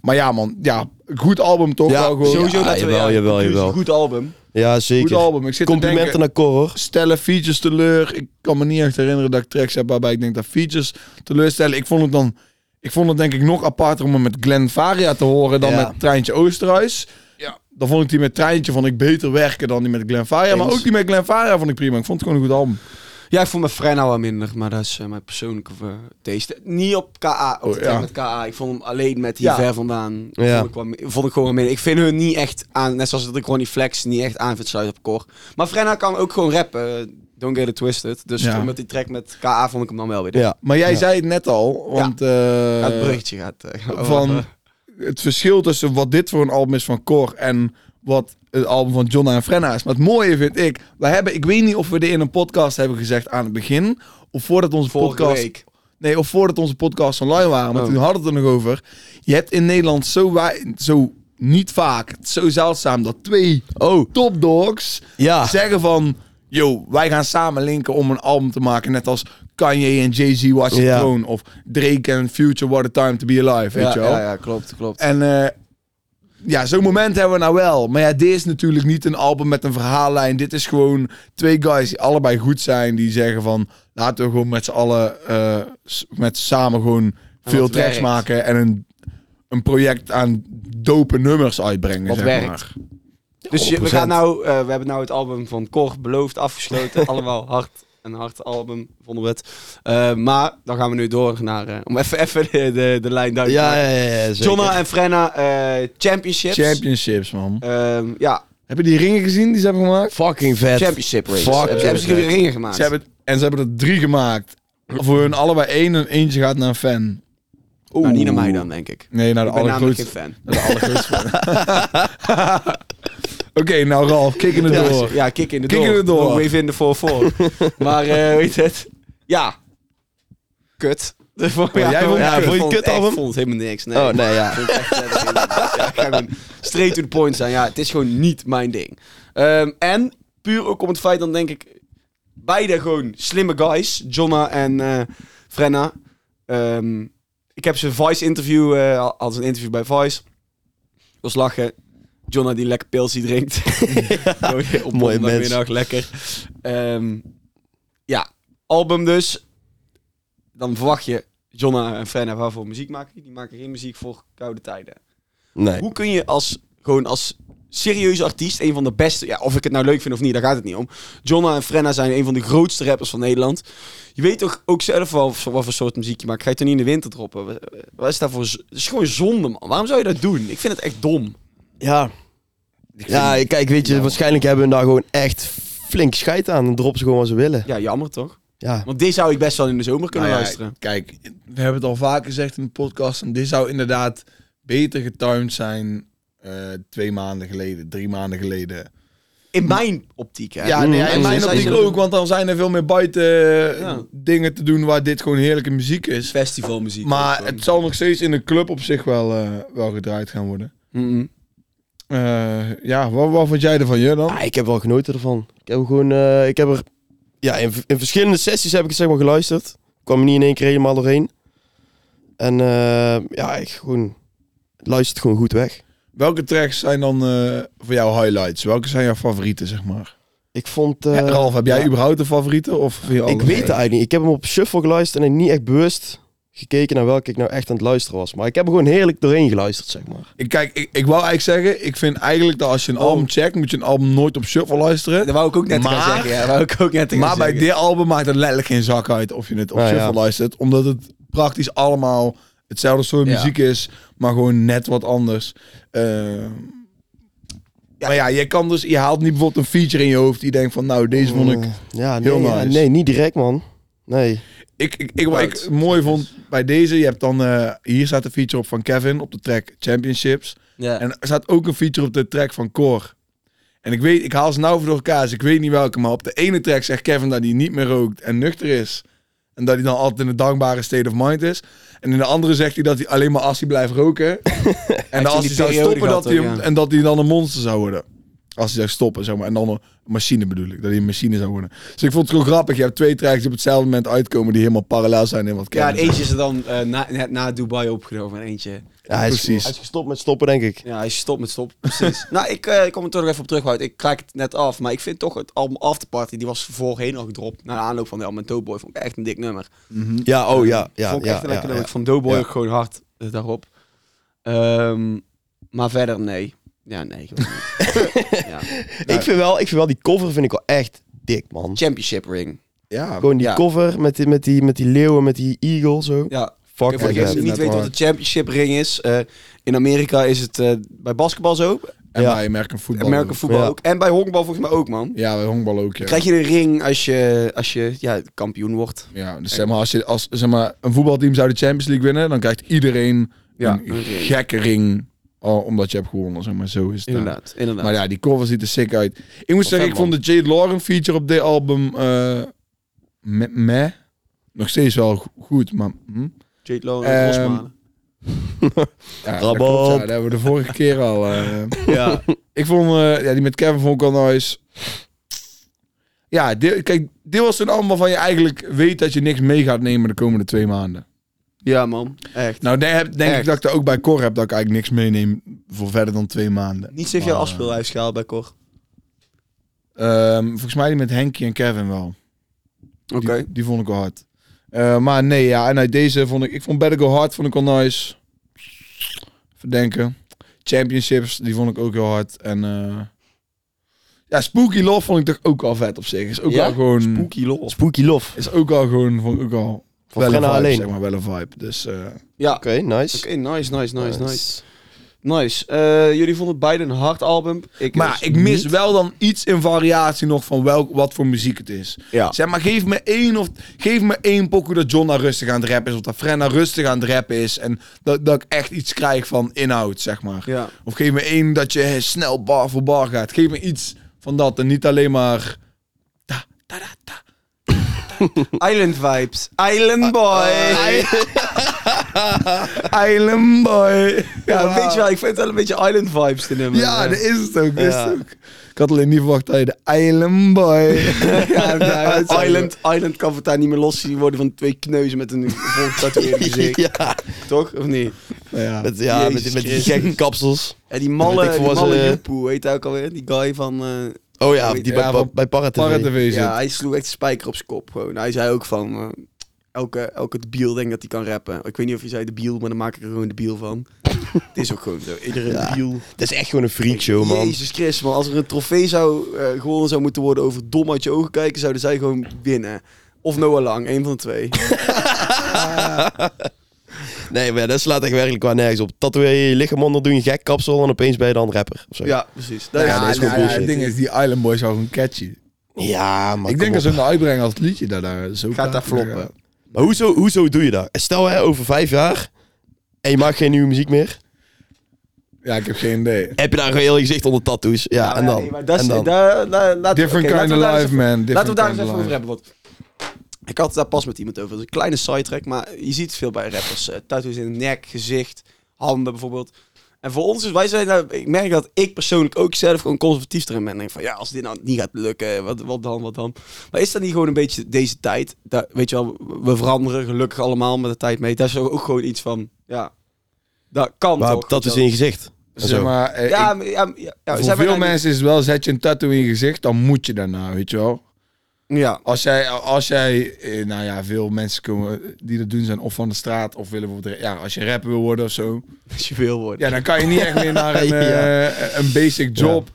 Speaker 1: maar ja man, ja, goed album toch?
Speaker 3: Ja,
Speaker 1: wel gewoon,
Speaker 2: sowieso
Speaker 3: ja,
Speaker 2: dat we-
Speaker 3: jawel,
Speaker 2: ja,
Speaker 3: jawel,
Speaker 2: conclusie,
Speaker 3: jawel.
Speaker 2: Goed album.
Speaker 3: Ja,
Speaker 1: goed
Speaker 3: zeker.
Speaker 1: album. Ik zit te
Speaker 3: Complimenten
Speaker 1: denken,
Speaker 3: naar Cor, hoor.
Speaker 1: stellen features teleur. Ik kan me niet echt herinneren dat ik tracks heb waarbij ik denk dat features teleurstellen. Ik vond het dan, ik vond het denk ik nog aparter om hem met Glenn Faria te horen dan
Speaker 3: Ja.
Speaker 1: met Treintje Oosterhuis. Ja. Dan vond ik die met Treintje vond ik beter werken dan die met Glenn Faria. Maar
Speaker 2: Eens.
Speaker 1: ook die met Glenn Faria vond ik prima. Ik vond het gewoon een goed album.
Speaker 2: Ja, ik vond me vrij nou wel minder, maar dat is eh, mijn persoonlijke eh, taste. Niet op KA, op de
Speaker 1: Oh,
Speaker 2: track
Speaker 1: ja.
Speaker 2: met KA. Ik vond hem alleen met hier
Speaker 1: Ja.
Speaker 2: ver vandaan.
Speaker 3: Ja.
Speaker 2: Vond, ik wel mi- vond ik gewoon minder. Ik vind hun niet echt aan, net zoals dat ik Ronnie Flex niet echt aan vind sluiten op Cor. Maar Frenna kan ook gewoon rappen. eh, Don't get it twisted. Dus
Speaker 1: Ja.
Speaker 2: met die track met KA vond ik hem dan wel weer.
Speaker 3: Ja.
Speaker 1: Maar jij zei het net al, want eh,
Speaker 2: Ja, het bruggetje gaat. eh, gaan we
Speaker 1: van
Speaker 2: over.
Speaker 1: het verschil tussen wat dit voor een album is van Cor en wat het album van Jonna en Frenna is. Maar het mooie vind ik, we hebben, ik weet niet of we dit in een podcast hebben gezegd aan het begin of voordat onze
Speaker 2: vorige
Speaker 1: podcast
Speaker 2: week.
Speaker 1: Nee, of voordat onze podcasts online waren. Maar
Speaker 2: Oh.
Speaker 1: toen hadden we het er nog over. Je hebt in Nederland zo, wei- zo niet vaak, zo zeldzaam, dat twee
Speaker 3: Oh,
Speaker 1: topdogs
Speaker 3: ja.
Speaker 1: zeggen van... Yo, wij gaan samen linken om een album te maken. Net als Kanye en Jay-Z Watch the
Speaker 3: Ja.
Speaker 1: Throne. Of Drake en Future What a Time to Be Alive, weet
Speaker 2: Ja,
Speaker 1: je wel.
Speaker 2: ja, ja, klopt, klopt.
Speaker 1: En eh, ja, zo'n moment hebben we nou wel. Maar ja, dit is natuurlijk niet een album met een verhaallijn. Dit is gewoon twee guys die allebei goed zijn. Die zeggen van, laten we gewoon met z'n allen, eh, s- met samen gewoon veel
Speaker 2: wat
Speaker 1: tracks
Speaker 2: werkt.
Speaker 1: maken. En een, een project aan dope nummers uitbrengen,
Speaker 2: Wat
Speaker 1: zeg
Speaker 2: werkt.
Speaker 1: maar.
Speaker 2: Dus je- we,
Speaker 3: 100%.
Speaker 2: gaan nou, eh, we hebben nou het album van Cor beloofd afgesloten. Allemaal hard en hard album, vonden we het. Eh, maar dan gaan we nu door naar, eh, om even, even de, de, de lijn duidelijk te maken.
Speaker 3: Ja, ja, ja, ja, zeker.
Speaker 2: Jonna en Frenna eh, Championships.
Speaker 1: Championships, man.
Speaker 2: Ehm, ja,
Speaker 1: Heb je die ringen gezien die ze hebben gemaakt?
Speaker 3: Fucking vet.
Speaker 2: Championship race.
Speaker 3: Fuck,
Speaker 2: Hebben ze hebben ze
Speaker 3: Championship.
Speaker 2: ringen gemaakt.
Speaker 1: Ze hebben, en ze hebben er drie gemaakt. Voor hun allebei één en eentje gaat naar een fan.
Speaker 2: Oeh. Nou, niet naar mij dan, denk ik.
Speaker 1: Nee, naar de
Speaker 2: Ik ben namelijk
Speaker 1: allergrootste.
Speaker 2: geen fan.
Speaker 1: De allergrootste. Oké, nou Ralf, kikken het
Speaker 2: Ja,
Speaker 1: door.
Speaker 2: Ja, kick in de
Speaker 1: Kick
Speaker 2: door.
Speaker 1: in the door.
Speaker 2: Nog Even in de 4-4. maar, eh weet het? Ja. Kut. Dus voor-
Speaker 1: jij vond het kut.
Speaker 2: ik
Speaker 3: Vond je het
Speaker 2: echt-
Speaker 3: album?
Speaker 2: vond het helemaal niks. Nee.
Speaker 3: Oh, nee, ja.
Speaker 2: Vond ik echt, eh, dat- ja, ik ga gewoon straight to the point zijn. Ja, het is gewoon niet mijn ding. Ehm, en puur ook om het feit, dan denk ik... Beide gewoon slimme guys. Jonna en eh, Frenna. Ehm, ik heb ze Vice interview... eh had ze een interview bij Vice. was lachen. Jonna die lekker pilsie drinkt. Gewoon op
Speaker 3: Mooie
Speaker 2: Middag, lekker. Ehm, ja, album dus. Dan verwacht je Jonna en Frenna waarvoor muziek maken. die? Die maken geen muziek voor koude tijden.
Speaker 3: Nee.
Speaker 2: Hoe kun je als, gewoon als serieuze artiest, een van de beste... Ja, of ik het nou leuk vind of niet, daar gaat het niet om. Jonna en Frenna zijn een van de grootste rappers van Nederland. Je weet toch ook zelf wel wat voor- wat voor soort muziek je maakt. Ga je het dan niet in de winter droppen? Wat- Wat is dat voor... z- Het is gewoon zonde, man. Waarom zou je dat doen? Ik vind het echt dom.
Speaker 3: Ja. Ja, kijk, weet je, waarschijnlijk hebben hun daar gewoon echt flink scheid aan. Dan droppen ze gewoon wat ze willen.
Speaker 2: Ja, jammer toch?
Speaker 3: Ja.
Speaker 2: Want deze zou ik best wel in de zomer kunnen
Speaker 1: Nou ja,
Speaker 2: luisteren.
Speaker 1: Kijk, we hebben het al vaker gezegd in de podcast. En dit zou inderdaad beter getimed zijn eh, twee maanden geleden, drie maanden geleden.
Speaker 2: In mijn optiek, hè?
Speaker 1: Ja,
Speaker 3: Mm,
Speaker 1: nee,
Speaker 3: en
Speaker 1: in mijn
Speaker 3: zij
Speaker 1: optiek
Speaker 3: zijn-
Speaker 1: ook, want dan zijn er veel meer buiten eh,
Speaker 2: Ja.
Speaker 1: dingen te doen waar dit gewoon heerlijke muziek is.
Speaker 2: Festivalmuziek.
Speaker 1: Maar
Speaker 2: ook, man.
Speaker 1: het zal nog steeds in de club op zich wel, eh, wel gedraaid gaan worden.
Speaker 2: Mm-mm.
Speaker 1: Eh, ja, wat, wat vond jij ervan, je dan?
Speaker 3: Ah, ik heb wel genoten ervan. Ik heb gewoon, eh, ik heb er, ja, in, in verschillende sessies heb ik het zeg maar geluisterd. Ik kwam er niet in één keer helemaal doorheen. En eh, ja, ik gewoon, het luistert gewoon goed weg.
Speaker 1: Welke tracks zijn dan eh, voor jou highlights? Welke zijn jouw favorieten, zeg maar?
Speaker 3: Ik vond, eh,
Speaker 1: Ralf, heb jij
Speaker 3: ja.
Speaker 1: überhaupt een favoriete? Of vind je
Speaker 3: ik
Speaker 1: alles
Speaker 3: weet het
Speaker 1: leuk?
Speaker 3: eigenlijk niet. Ik heb hem op shuffle geluisterd en ik niet echt bewust gekeken naar welke ik nou echt aan het luisteren was. Maar ik heb er gewoon heerlijk doorheen geluisterd, zeg maar.
Speaker 1: Ik, kijk, ik, ik wou eigenlijk zeggen, ik vind eigenlijk dat als je een
Speaker 3: Oh.
Speaker 1: album checkt, moet je een album nooit op shuffle luisteren.
Speaker 2: Dat wou ik ook net gaan
Speaker 1: Maar-
Speaker 2: zeggen. Ja, dat wou ik ook net gaan
Speaker 1: Maar bij
Speaker 2: zeggen.
Speaker 1: dit album maakt het letterlijk geen zak uit of je het op
Speaker 3: Nou ja.
Speaker 1: shuffle luistert. Omdat het praktisch allemaal hetzelfde soort
Speaker 2: Ja.
Speaker 1: muziek is, maar gewoon net wat anders. Ehm, Maar ja, je kan dus, je haalt niet bijvoorbeeld een feature in je hoofd die denkt van, nou, deze vond
Speaker 3: Mm.
Speaker 1: ik...
Speaker 3: Ja, nee,
Speaker 1: Heel
Speaker 3: ja,
Speaker 1: nice.
Speaker 3: nee niet direct, man. Nee.
Speaker 1: Ik, ik, ik, wat ik mooi vond bij deze, je hebt dan, eh, hier staat een feature op van Kevin op de track Championships.
Speaker 2: Ja.
Speaker 1: En er staat ook een feature op de track van Cor. En ik weet, ik haal ze nou voor door elkaar, dus ik weet niet welke. Maar op de ene track zegt Kevin dat hij niet meer rookt en nuchter is. En dat hij dan altijd in een dankbare state of mind is. En in de andere zegt hij dat hij alleen maar als hij blijft roken. en dat
Speaker 2: die
Speaker 1: als hij zou
Speaker 2: periode
Speaker 1: stoppen,
Speaker 2: gehad
Speaker 1: dat hij,
Speaker 2: ook,
Speaker 1: hem-
Speaker 2: ja.
Speaker 1: en dat hij dan een monster zou worden. Als hij zou stoppen, zeg maar. En dan een machine bedoel ik. Dat hij een machine zou worden. Dus ik vond het gewoon grappig. Je hebt twee tracks die op hetzelfde moment uitkomen die helemaal parallel zijn in wat
Speaker 2: Ja, en
Speaker 1: Kevin zegt.
Speaker 2: eentje is er dan eh, na, net na Dubai opgenomen. En eentje...
Speaker 3: Ja, hij, is,
Speaker 1: Precies.
Speaker 3: hij is gestopt met stoppen, denk ik.
Speaker 2: Ja, hij stopt met stop. Precies. nou, ik, eh, ik kom er toch nog even op terug, Wout. Ik kraak het net af. Maar ik vind toch het album Afterparty, die was voorheen al gedropt. Na de aanloop van de album Doughboy. Vond ik echt een dik nummer. Eh,
Speaker 3: Ja, oh ja. ja
Speaker 2: vond ik
Speaker 3: ja,
Speaker 2: echt een lekker
Speaker 3: ja, ja.
Speaker 2: nummer. Ik vond Doughboy
Speaker 3: Ja.
Speaker 2: ook gewoon hard eh, daarop. Ehm, maar verder, nee. Ja, nee. gewoon niet. ja.
Speaker 3: Ik, vind wel, ik vind wel die cover vind ik wel echt dik, man.
Speaker 2: Championship ring.
Speaker 1: Ja,
Speaker 3: Gewoon die
Speaker 2: Ja.
Speaker 3: cover met die, met, die, met die leeuwen, met die eagle zo.
Speaker 2: Ja,
Speaker 3: Fuck
Speaker 2: Oké, voor degenen die
Speaker 1: ja,
Speaker 2: niet weten
Speaker 1: waar.
Speaker 2: wat de championship ring is. eh, in Amerika is het eh, bij basketbal zo.
Speaker 1: en
Speaker 3: ja.
Speaker 1: bij American voetbal.
Speaker 2: Amerika voetbal
Speaker 3: Ja.
Speaker 2: ook. En bij honkbal volgens mij ook, man.
Speaker 1: Ja, bij honkbal ook. Ja.
Speaker 2: Krijg je een ring als je, als je ja, kampioen wordt.
Speaker 1: Ja, dus zeg maar, als, je, als zeg maar, een voetbalteam zou de Champions League winnen, dan krijgt iedereen
Speaker 2: Ja,
Speaker 1: een
Speaker 2: een ring.
Speaker 1: gekke ring. al- omdat je hebt gewonnen, zeg maar, zo is het. dan.
Speaker 2: Inderdaad, inderdaad.
Speaker 1: Maar ja, die cover ziet er sick uit. Ik moet zeggen,
Speaker 2: vet,
Speaker 1: ik vond de Jade Lauren feature op dit album eh me, me- nog steeds wel go- goed, maar... Hm?
Speaker 2: Jade Lowe
Speaker 1: Ehm,
Speaker 2: en Rosmalen.
Speaker 1: Ja, dat
Speaker 3: Rabot.
Speaker 1: klopt, ja, dat hebben we de vorige keer al. eh.
Speaker 2: Ja.
Speaker 1: Ik vond, eh, ja, die met Kevin vond ik al nice. Ja, dit, kijk, dit was een album waarvan je eigenlijk weet dat je niks mee gaat nemen de komende twee maanden.
Speaker 2: ja, man. Echt.
Speaker 1: Nou, daar heb- denk ik
Speaker 2: Echt.
Speaker 1: dat ik er ook bij Cor heb dat ik eigenlijk niks meeneem voor verder dan twee maanden.
Speaker 2: Niet zoveel
Speaker 1: Maar,
Speaker 2: afspeellijst gehaald bij Cor.
Speaker 1: Ehm, volgens mij die met Henkie en Kevin wel.
Speaker 2: Oké.
Speaker 1: Die- Die, vond ik wel hard. Eh, maar nee, ja, en uit deze vond ik, ik vond Better Go Hard vond ik wel nice. Verdenken. Championships, die vond ik ook heel hard. En eh, ja, Spooky Love vond ik toch ook al vet op zich. Is ook
Speaker 2: Ja?
Speaker 1: al gewoon,
Speaker 2: Spooky Love.
Speaker 3: Spooky Love.
Speaker 1: is ook al gewoon, vond ik ook al wel
Speaker 3: Van
Speaker 1: een
Speaker 3: Frenna
Speaker 1: vibe,
Speaker 3: alleen.
Speaker 1: zeg maar, wel een vibe. Dus eh,
Speaker 2: Ja. Oké,
Speaker 3: Oké, nice.
Speaker 2: nice, nice, nice, nice. Nice. Eh, jullie vonden beide een hard album. Ik
Speaker 1: Maar
Speaker 2: dus
Speaker 1: ik mis
Speaker 2: niet.
Speaker 1: wel dan iets in variatie nog van welk, wat voor muziek het is.
Speaker 2: Ja.
Speaker 1: Zeg maar, geef me één, of, geef me één pokoe dat John rustig aan het rappen is. Of dat Frenna rustig aan het rappen is. En dat, dat ik echt iets krijg van inhoud, zeg maar.
Speaker 2: Ja.
Speaker 1: Of geef me één dat je snel bar voor bar gaat. Geef me iets van dat en niet alleen maar... Ta, ta, ta, ta. Ah,
Speaker 2: Island vibes. Island boy.
Speaker 1: Island Boy.
Speaker 2: Ja, weet je wel, ik vind het wel een beetje island vibes te nemen.
Speaker 1: Ja, dat is het ook. dat is
Speaker 3: Ja.
Speaker 1: het ook. Ik had alleen niet verwacht dat je de Island Boy. ja, ja, dat zou-
Speaker 2: Island, Island kan het daar niet meer loszien worden van twee kneuzen met een volgetatoeëerde gezicht.
Speaker 3: ja,
Speaker 2: Toch? Of niet?
Speaker 1: Ja.
Speaker 3: met, ja met,
Speaker 2: Jezus
Speaker 3: met die
Speaker 2: Christus.
Speaker 3: gekke kapsels.
Speaker 2: En die malle,
Speaker 3: Ik
Speaker 2: die
Speaker 3: was,
Speaker 2: malle
Speaker 3: eh,
Speaker 2: Joepoe, weet hij ook alweer? Die guy van... eh,
Speaker 3: Oh ja,
Speaker 2: Weet
Speaker 3: die
Speaker 1: je,
Speaker 3: bij,
Speaker 1: ja,
Speaker 3: bij,
Speaker 1: van
Speaker 3: bij Parra TV.
Speaker 1: Paratv
Speaker 2: ja, hij sloeg echt de spijker op zijn kop gewoon. Hij zei ook van... eh, elke, elke debiel denkt dat hij kan rappen. Ik weet niet of je zei debiel, maar dan maak ik er gewoon debiel van. het is ook gewoon zo. Iedere
Speaker 3: Ja.
Speaker 2: debiel.
Speaker 3: Dat is echt gewoon een freakshow, man.
Speaker 2: Jezus Christus, man. Als er een trofee zou eh gewonnen zou moeten worden over dom uit je ogen kijken, zouden zij gewoon winnen. Of Noah Lang, één van de twee.
Speaker 3: Nee, maar dat slaat echt werkelijk qua nergens op. Tatoeëer je lichaam onder, doe je gek kapsel en opeens ben je dan rapper. Of zo.
Speaker 2: ja, precies. Dat
Speaker 1: Ja,
Speaker 2: is-
Speaker 3: dat is
Speaker 1: nou,
Speaker 3: gewoon
Speaker 1: ja, het
Speaker 3: bullshit.
Speaker 1: ding is, die Island Boy zou gewoon catchy.
Speaker 3: ja maar
Speaker 1: ik
Speaker 3: kom
Speaker 1: denk
Speaker 3: op.
Speaker 1: dat ze hem nou uitbrengen als het liedje daar, daar zo
Speaker 2: Gaat daar floppen.
Speaker 3: Maar hoezo, hoezo doe je dat? Stel hè, over vijf jaar en je maakt geen nieuwe muziek meer.
Speaker 1: Ja, ik heb geen idee.
Speaker 3: Heb je daar een heel gezicht onder tattoos? Ja, en dan?
Speaker 2: nee, maar dat is-
Speaker 3: en dan?
Speaker 2: daar- daar- laten we-
Speaker 1: Different
Speaker 2: oké,
Speaker 1: kind
Speaker 2: laten we
Speaker 1: of
Speaker 2: daar eens
Speaker 1: life,
Speaker 2: even-
Speaker 1: man.
Speaker 2: Laten we
Speaker 1: Different
Speaker 2: daar eens
Speaker 1: kind
Speaker 2: even
Speaker 1: of life.
Speaker 2: over hebben. Want ik had het daar pas met iemand over. Dat is een kleine sidetrack, maar je ziet het veel bij rappers. eh, tattoos in de nek, gezicht, handen bijvoorbeeld. En voor ons is, wij zijn, daar- ik merk dat ik persoonlijk ook zelf gewoon conservatief erin ben. Ik Denk van, ja, als dit nou niet gaat lukken, wat, wat dan, wat dan. Maar is dat niet gewoon een beetje deze tijd? Dat, weet je wel, we veranderen gelukkig allemaal met de tijd mee. Daar is ook gewoon iets van, ja, dat kan
Speaker 3: Maar
Speaker 2: toch?
Speaker 3: tattoos
Speaker 2: weet
Speaker 3: in
Speaker 2: je
Speaker 3: je gezicht. En
Speaker 1: Zeg
Speaker 3: zo.
Speaker 1: maar, eh,
Speaker 2: wel. Ja,
Speaker 1: ik-
Speaker 2: maar- ja, maar- ja, ja,
Speaker 1: voor
Speaker 2: zijn we
Speaker 1: veel
Speaker 2: daar niet-
Speaker 1: mensen is het wel, zet je een tattoo in je gezicht, dan moet je daarna, weet je wel.
Speaker 2: Ja,
Speaker 1: Als jij, als jij eh, nou ja, veel mensen komen eh, die dat doen zijn of van de straat of willen bijvoorbeeld, ja, als je rapper wil worden of zo.
Speaker 2: als je wil worden.
Speaker 1: Ja, dan kan je niet echt meer naar een,
Speaker 3: Ja.
Speaker 1: eh, een basic job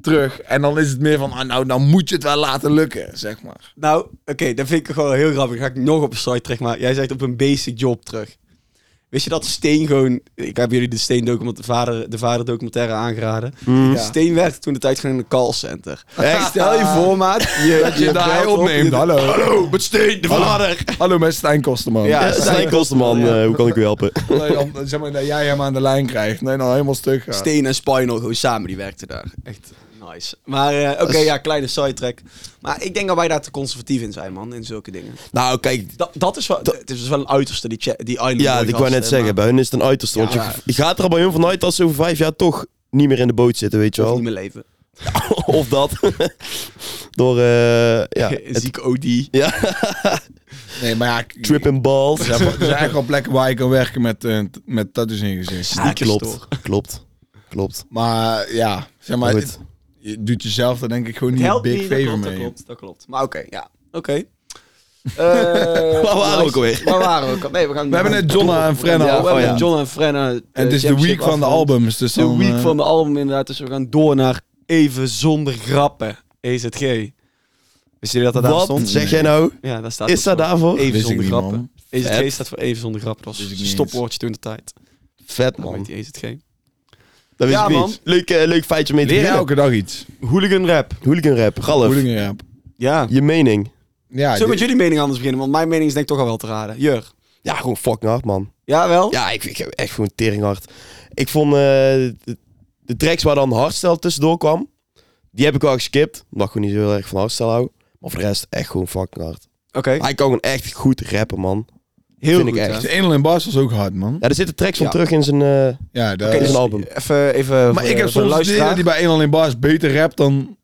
Speaker 1: terug. En dan is het meer van, ah, nou, dan moet je het wel laten lukken, zeg maar.
Speaker 2: Nou, oké, dat vind ik gewoon heel grappig. Ga ik nog op een site terug, maar jij zegt op een basic job terug. Wist je dat Steen gewoon... Ik heb jullie de Steen document, de vader, de vader documentaire aangeraden.
Speaker 3: Mm.
Speaker 2: Steen werkte toen de tijd gewoon in een callcenter.
Speaker 3: Echt?
Speaker 2: Stel je voor, maat. Je,
Speaker 1: Dat je daar
Speaker 2: belt op,
Speaker 1: opneemt,
Speaker 2: je-
Speaker 1: hallo.
Speaker 3: Hallo, met Steen, de vader.
Speaker 1: Hallo, met Stijn Kosterman.
Speaker 2: Ja,
Speaker 3: Ja, Stijn Kosterman, eh, hoe kan ik u helpen?
Speaker 1: Dat je dan, zeg maar, dat jij hem aan de lijn krijgt. Nee, nou helemaal stuk gaat.
Speaker 2: Steen en Spinal gewoon samen, die werkten daar. Echt nice. Maar eh, oké, ja, kleine sidetrack. Maar ik denk dat wij daar te conservatief in zijn, man, in zulke dingen.
Speaker 3: Nou, kijk,
Speaker 2: Dat, dat is wel... het is dus wel een uiterste, die, cha- die Island
Speaker 3: Ja,
Speaker 2: Boy
Speaker 3: ik wou net
Speaker 2: gasten,
Speaker 3: zeggen,
Speaker 2: maar
Speaker 3: bij hun is het een uiterste. Want
Speaker 2: Ja.
Speaker 3: je, je gaat er al bij hun vanuit dat ze over vijf jaar toch niet meer in de boot zitten, weet je
Speaker 2: dat is
Speaker 3: wel.
Speaker 2: niet mijn leven.
Speaker 3: of dat. Door, eh ja, het-
Speaker 2: Ziek OD.
Speaker 3: ja
Speaker 1: Nee, maar ja, ik-
Speaker 3: trip and balls.
Speaker 1: Er zijn, er zijn eigenlijk wel plekken waar je kan werken met, eh, t- met tattoos in je gezicht.
Speaker 3: Ja, Ah, klopt,
Speaker 2: sneakerstore.
Speaker 3: klopt, klopt.
Speaker 1: Maar ja, zeg maar,
Speaker 3: Goed.
Speaker 1: het- je doet jezelf daar denk ik gewoon niet een
Speaker 2: Helpt
Speaker 1: big
Speaker 2: niet, dat
Speaker 1: favor
Speaker 2: klopt,
Speaker 1: mee.
Speaker 2: Dat klopt, dat klopt. Maar oké, ja. Oké. Waar
Speaker 3: Waar waren we ook alweer?
Speaker 2: Waar waren we ook al- Nee, we gaan...
Speaker 1: We hebben net Jonna en Frenna.
Speaker 2: Ja,
Speaker 1: af-
Speaker 2: we
Speaker 3: oh
Speaker 2: hebben
Speaker 3: ja.
Speaker 2: John en Frenna. eh, En
Speaker 1: en het is de week van de albums. Dus
Speaker 2: De
Speaker 1: dan,
Speaker 2: week
Speaker 1: eh,
Speaker 2: van de album inderdaad. Dus we gaan door naar Even Zonder Grappen. E EZG. Wist jullie dat dat daar
Speaker 3: Wat
Speaker 2: stond?
Speaker 3: zeg jij nou?
Speaker 2: Ja, daar staat
Speaker 3: Is
Speaker 2: dat
Speaker 3: dat
Speaker 2: voor.
Speaker 3: daarvoor?
Speaker 2: Even
Speaker 1: Wist ik
Speaker 2: Zonder
Speaker 1: niet,
Speaker 2: Grappen.
Speaker 1: man.
Speaker 2: EZG
Speaker 3: Vet.
Speaker 2: staat voor Even Zonder Grappen. Dat was
Speaker 1: Wist ik
Speaker 2: een
Speaker 1: niet eens.
Speaker 2: stopwoordje toen de tijd. E
Speaker 3: Vet
Speaker 2: Dat
Speaker 3: man.
Speaker 2: heet die EZG.
Speaker 3: Dat wist
Speaker 2: Ja,
Speaker 3: ik niet.
Speaker 2: man.
Speaker 3: Leuk, eh, leuk feitje om mee te
Speaker 1: Leer
Speaker 3: beginnen.
Speaker 1: elke dag iets.
Speaker 2: Hooligan Rap.
Speaker 3: Hooligan rap. Ralf,
Speaker 1: Hoedingenrap.
Speaker 2: Ja.
Speaker 3: je mening.
Speaker 1: Ja,
Speaker 2: Zullen we met
Speaker 1: dit-
Speaker 2: jullie mening anders beginnen? Want mijn mening is denk ik toch al wel te raden. Jur.
Speaker 3: Ja, gewoon fucking hard man.
Speaker 2: Ja, wel?
Speaker 3: Ja, ik, ik heb echt gewoon teringhard. Ik vond eh, de, de tracks waar dan hardstyle tussendoor kwam, die heb ik wel geskipt. Omdat ik gewoon niet zo heel erg van hardstyle hou. Maar voor de rest echt gewoon fucking hard.
Speaker 2: Oké.
Speaker 3: Hij kan gewoon echt goed rappen man.
Speaker 2: Heel
Speaker 3: vind ik
Speaker 2: goed,
Speaker 3: echt.
Speaker 1: de
Speaker 2: hè?
Speaker 1: Engel in Bas was ook hard, man.
Speaker 3: Ja, er zitten tracks van
Speaker 2: Ja.
Speaker 3: terug in zijn... eh,
Speaker 1: Ja, daar-
Speaker 2: Oké,
Speaker 3: is
Speaker 2: dus
Speaker 3: een album.
Speaker 2: Even, even
Speaker 1: maar
Speaker 2: voor
Speaker 1: ik
Speaker 2: de-
Speaker 1: heb
Speaker 2: voor de
Speaker 1: soms het idee
Speaker 2: luisteraar.
Speaker 1: dat hij bij Engel in Bas beter rapt dan...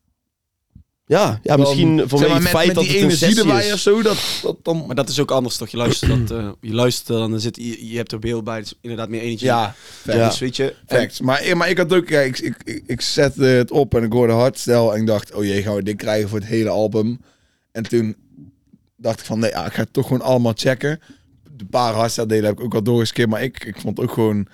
Speaker 3: ja, ja, misschien
Speaker 1: dan-
Speaker 3: vanwege
Speaker 1: zeg maar,
Speaker 3: het
Speaker 1: met-
Speaker 3: feit
Speaker 1: met
Speaker 3: dat
Speaker 1: die
Speaker 3: het een
Speaker 1: energie
Speaker 3: sessie
Speaker 1: erbij
Speaker 3: is.
Speaker 1: of zo. Dat, dat dan...
Speaker 2: Maar dat is ook anders, toch? Je luistert, dat, eh, je luistert en dan zit, je, je hebt er beeld bij. Dus inderdaad meer energie.
Speaker 1: ja,
Speaker 2: ja.
Speaker 3: ja.
Speaker 2: Dus weet je... en-
Speaker 1: Facts. Maar, eh, maar ik had ook, ja, ik, ik, ik, ik zette het op en ik hoorde hardstel en ik dacht, oh jee, gaan we dit krijgen voor het hele album? En toen dacht ik van, nee, ja, ik ga het toch gewoon allemaal checken. De paar hardstel delen heb ik ook al doorgeskipt, maar ik, ik vond ook gewoon,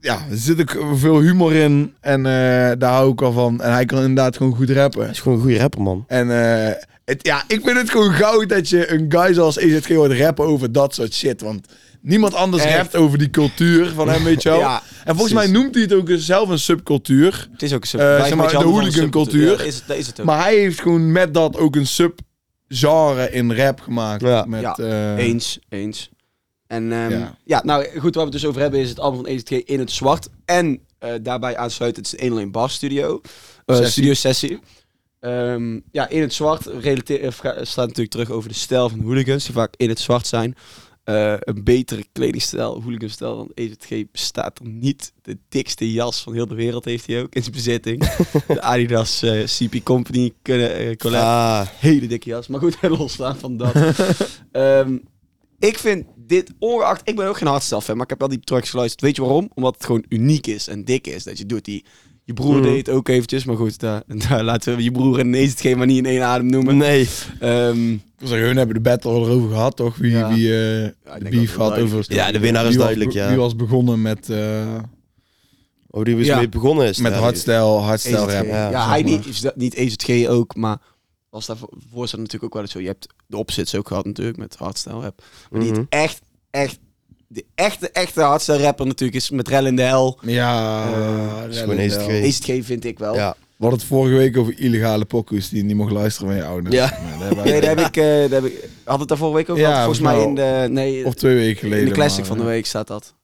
Speaker 1: ja, er zit ook veel humor in en eh, daar hou ik al van. En hij kan inderdaad gewoon goed rappen.
Speaker 3: Hij is gewoon een goede rapper man.
Speaker 1: En eh, het, ja, ik vind het gewoon goud dat je een guy zoals EZG hoort rappen over dat soort shit. Want niemand anders
Speaker 2: Echt.
Speaker 1: rapt over die cultuur van hem, weet je wel.
Speaker 2: Ja,
Speaker 1: en volgens
Speaker 2: precies.
Speaker 1: mij noemt hij het ook zelf een subcultuur.
Speaker 2: Het is ook een sub-
Speaker 1: Eh,
Speaker 2: wij
Speaker 1: zeg
Speaker 2: zijn
Speaker 1: maar,
Speaker 2: met je
Speaker 1: de
Speaker 2: handen van
Speaker 1: hooligan
Speaker 2: subcultuur.
Speaker 1: cultuur.
Speaker 2: Ja, dat is, het- dat is het ook.
Speaker 1: Maar hij heeft gewoon met dat ook een subgenre in rap gemaakt.
Speaker 3: Ja.
Speaker 1: met,
Speaker 2: Ja,
Speaker 1: eh,
Speaker 2: Eens, eens. En ehm,
Speaker 1: Ja.
Speaker 2: ja. nou goed, waar we het dus over hebben is het album van EZG in het zwart. En eh, daarbij aansluit het is een 1 Bar Studio. Eh,
Speaker 1: Sessie.
Speaker 2: Studio Sessie. Ehm, ja, in het zwart relateer, eh, vra- staat natuurlijk terug over de stijl van hooligans die vaak in het zwart zijn. eh, een betere kledingstijl, hooliganstijl dan EZG bestaat er niet. De dikste jas van heel de wereld heeft hij ook in zijn bezitting. de Adidas eh, CP Company kunnen eh collab.
Speaker 3: Ah,
Speaker 2: Hele dikke jas, maar goed, losstaan van dat. Ehm, ik vind dit, ongeacht, ik ben ook geen hardstyle fan, maar ik heb wel die tracks geluisterd. Weet je waarom? Omdat het gewoon uniek is en dik is. Dat je doet die, je broer
Speaker 3: Mm.
Speaker 2: deed het ook eventjes, maar goed, daar, daar laten we je broer en nee, het geen maar niet in één adem noemen.
Speaker 3: nee.
Speaker 2: Ehm,
Speaker 1: Ik wil zeggen, hun hebben de battle erover gehad, toch? Wie,
Speaker 2: Ja.
Speaker 1: wie eh,
Speaker 2: denk
Speaker 1: de
Speaker 2: dat
Speaker 1: beef
Speaker 2: het
Speaker 1: gehad
Speaker 2: duidelijk
Speaker 1: over...
Speaker 2: is. Ja,
Speaker 3: de winnaar is
Speaker 1: Wie was
Speaker 3: duidelijk,
Speaker 1: be-
Speaker 3: ja.
Speaker 1: Wie was begonnen met, eh
Speaker 3: Oh, die was
Speaker 1: Ja.
Speaker 3: mee begonnen is.
Speaker 1: met
Speaker 3: Ja,
Speaker 1: hardstyle, hardstyle
Speaker 2: EZG.
Speaker 1: rap.
Speaker 2: Ja,
Speaker 3: Ja, zeg
Speaker 2: hij
Speaker 3: maar.
Speaker 2: niet, is dat niet EZG ook, maar als daarvoor staat natuurlijk ook wel eens zo. Je hebt de opzits ook gehad natuurlijk met hardstyle rap. Maar die
Speaker 3: Mhm.
Speaker 2: het echt, echt, de echte, echte hardstyle rapper natuurlijk is met Rel in de Hel.
Speaker 1: Ja,
Speaker 2: Eh,
Speaker 1: eh,
Speaker 3: is gewoon
Speaker 1: wel.
Speaker 3: EZG.
Speaker 2: EZG vind ik wel.
Speaker 3: Ja.
Speaker 1: We hadden het vorige week over illegale pokus die je niet mocht luisteren van je ouders.
Speaker 3: Ja.
Speaker 1: Nou, daar hebben wij-
Speaker 2: Nee, daar heb ik, eh, daar heb ik, had het daar vorige week ook
Speaker 1: Ja,
Speaker 2: gehad. Volgens mij in
Speaker 1: volgens
Speaker 2: de, nee,
Speaker 1: Of twee weken geleden.
Speaker 2: in de classic
Speaker 1: maar, eh,
Speaker 2: van de week staat dat.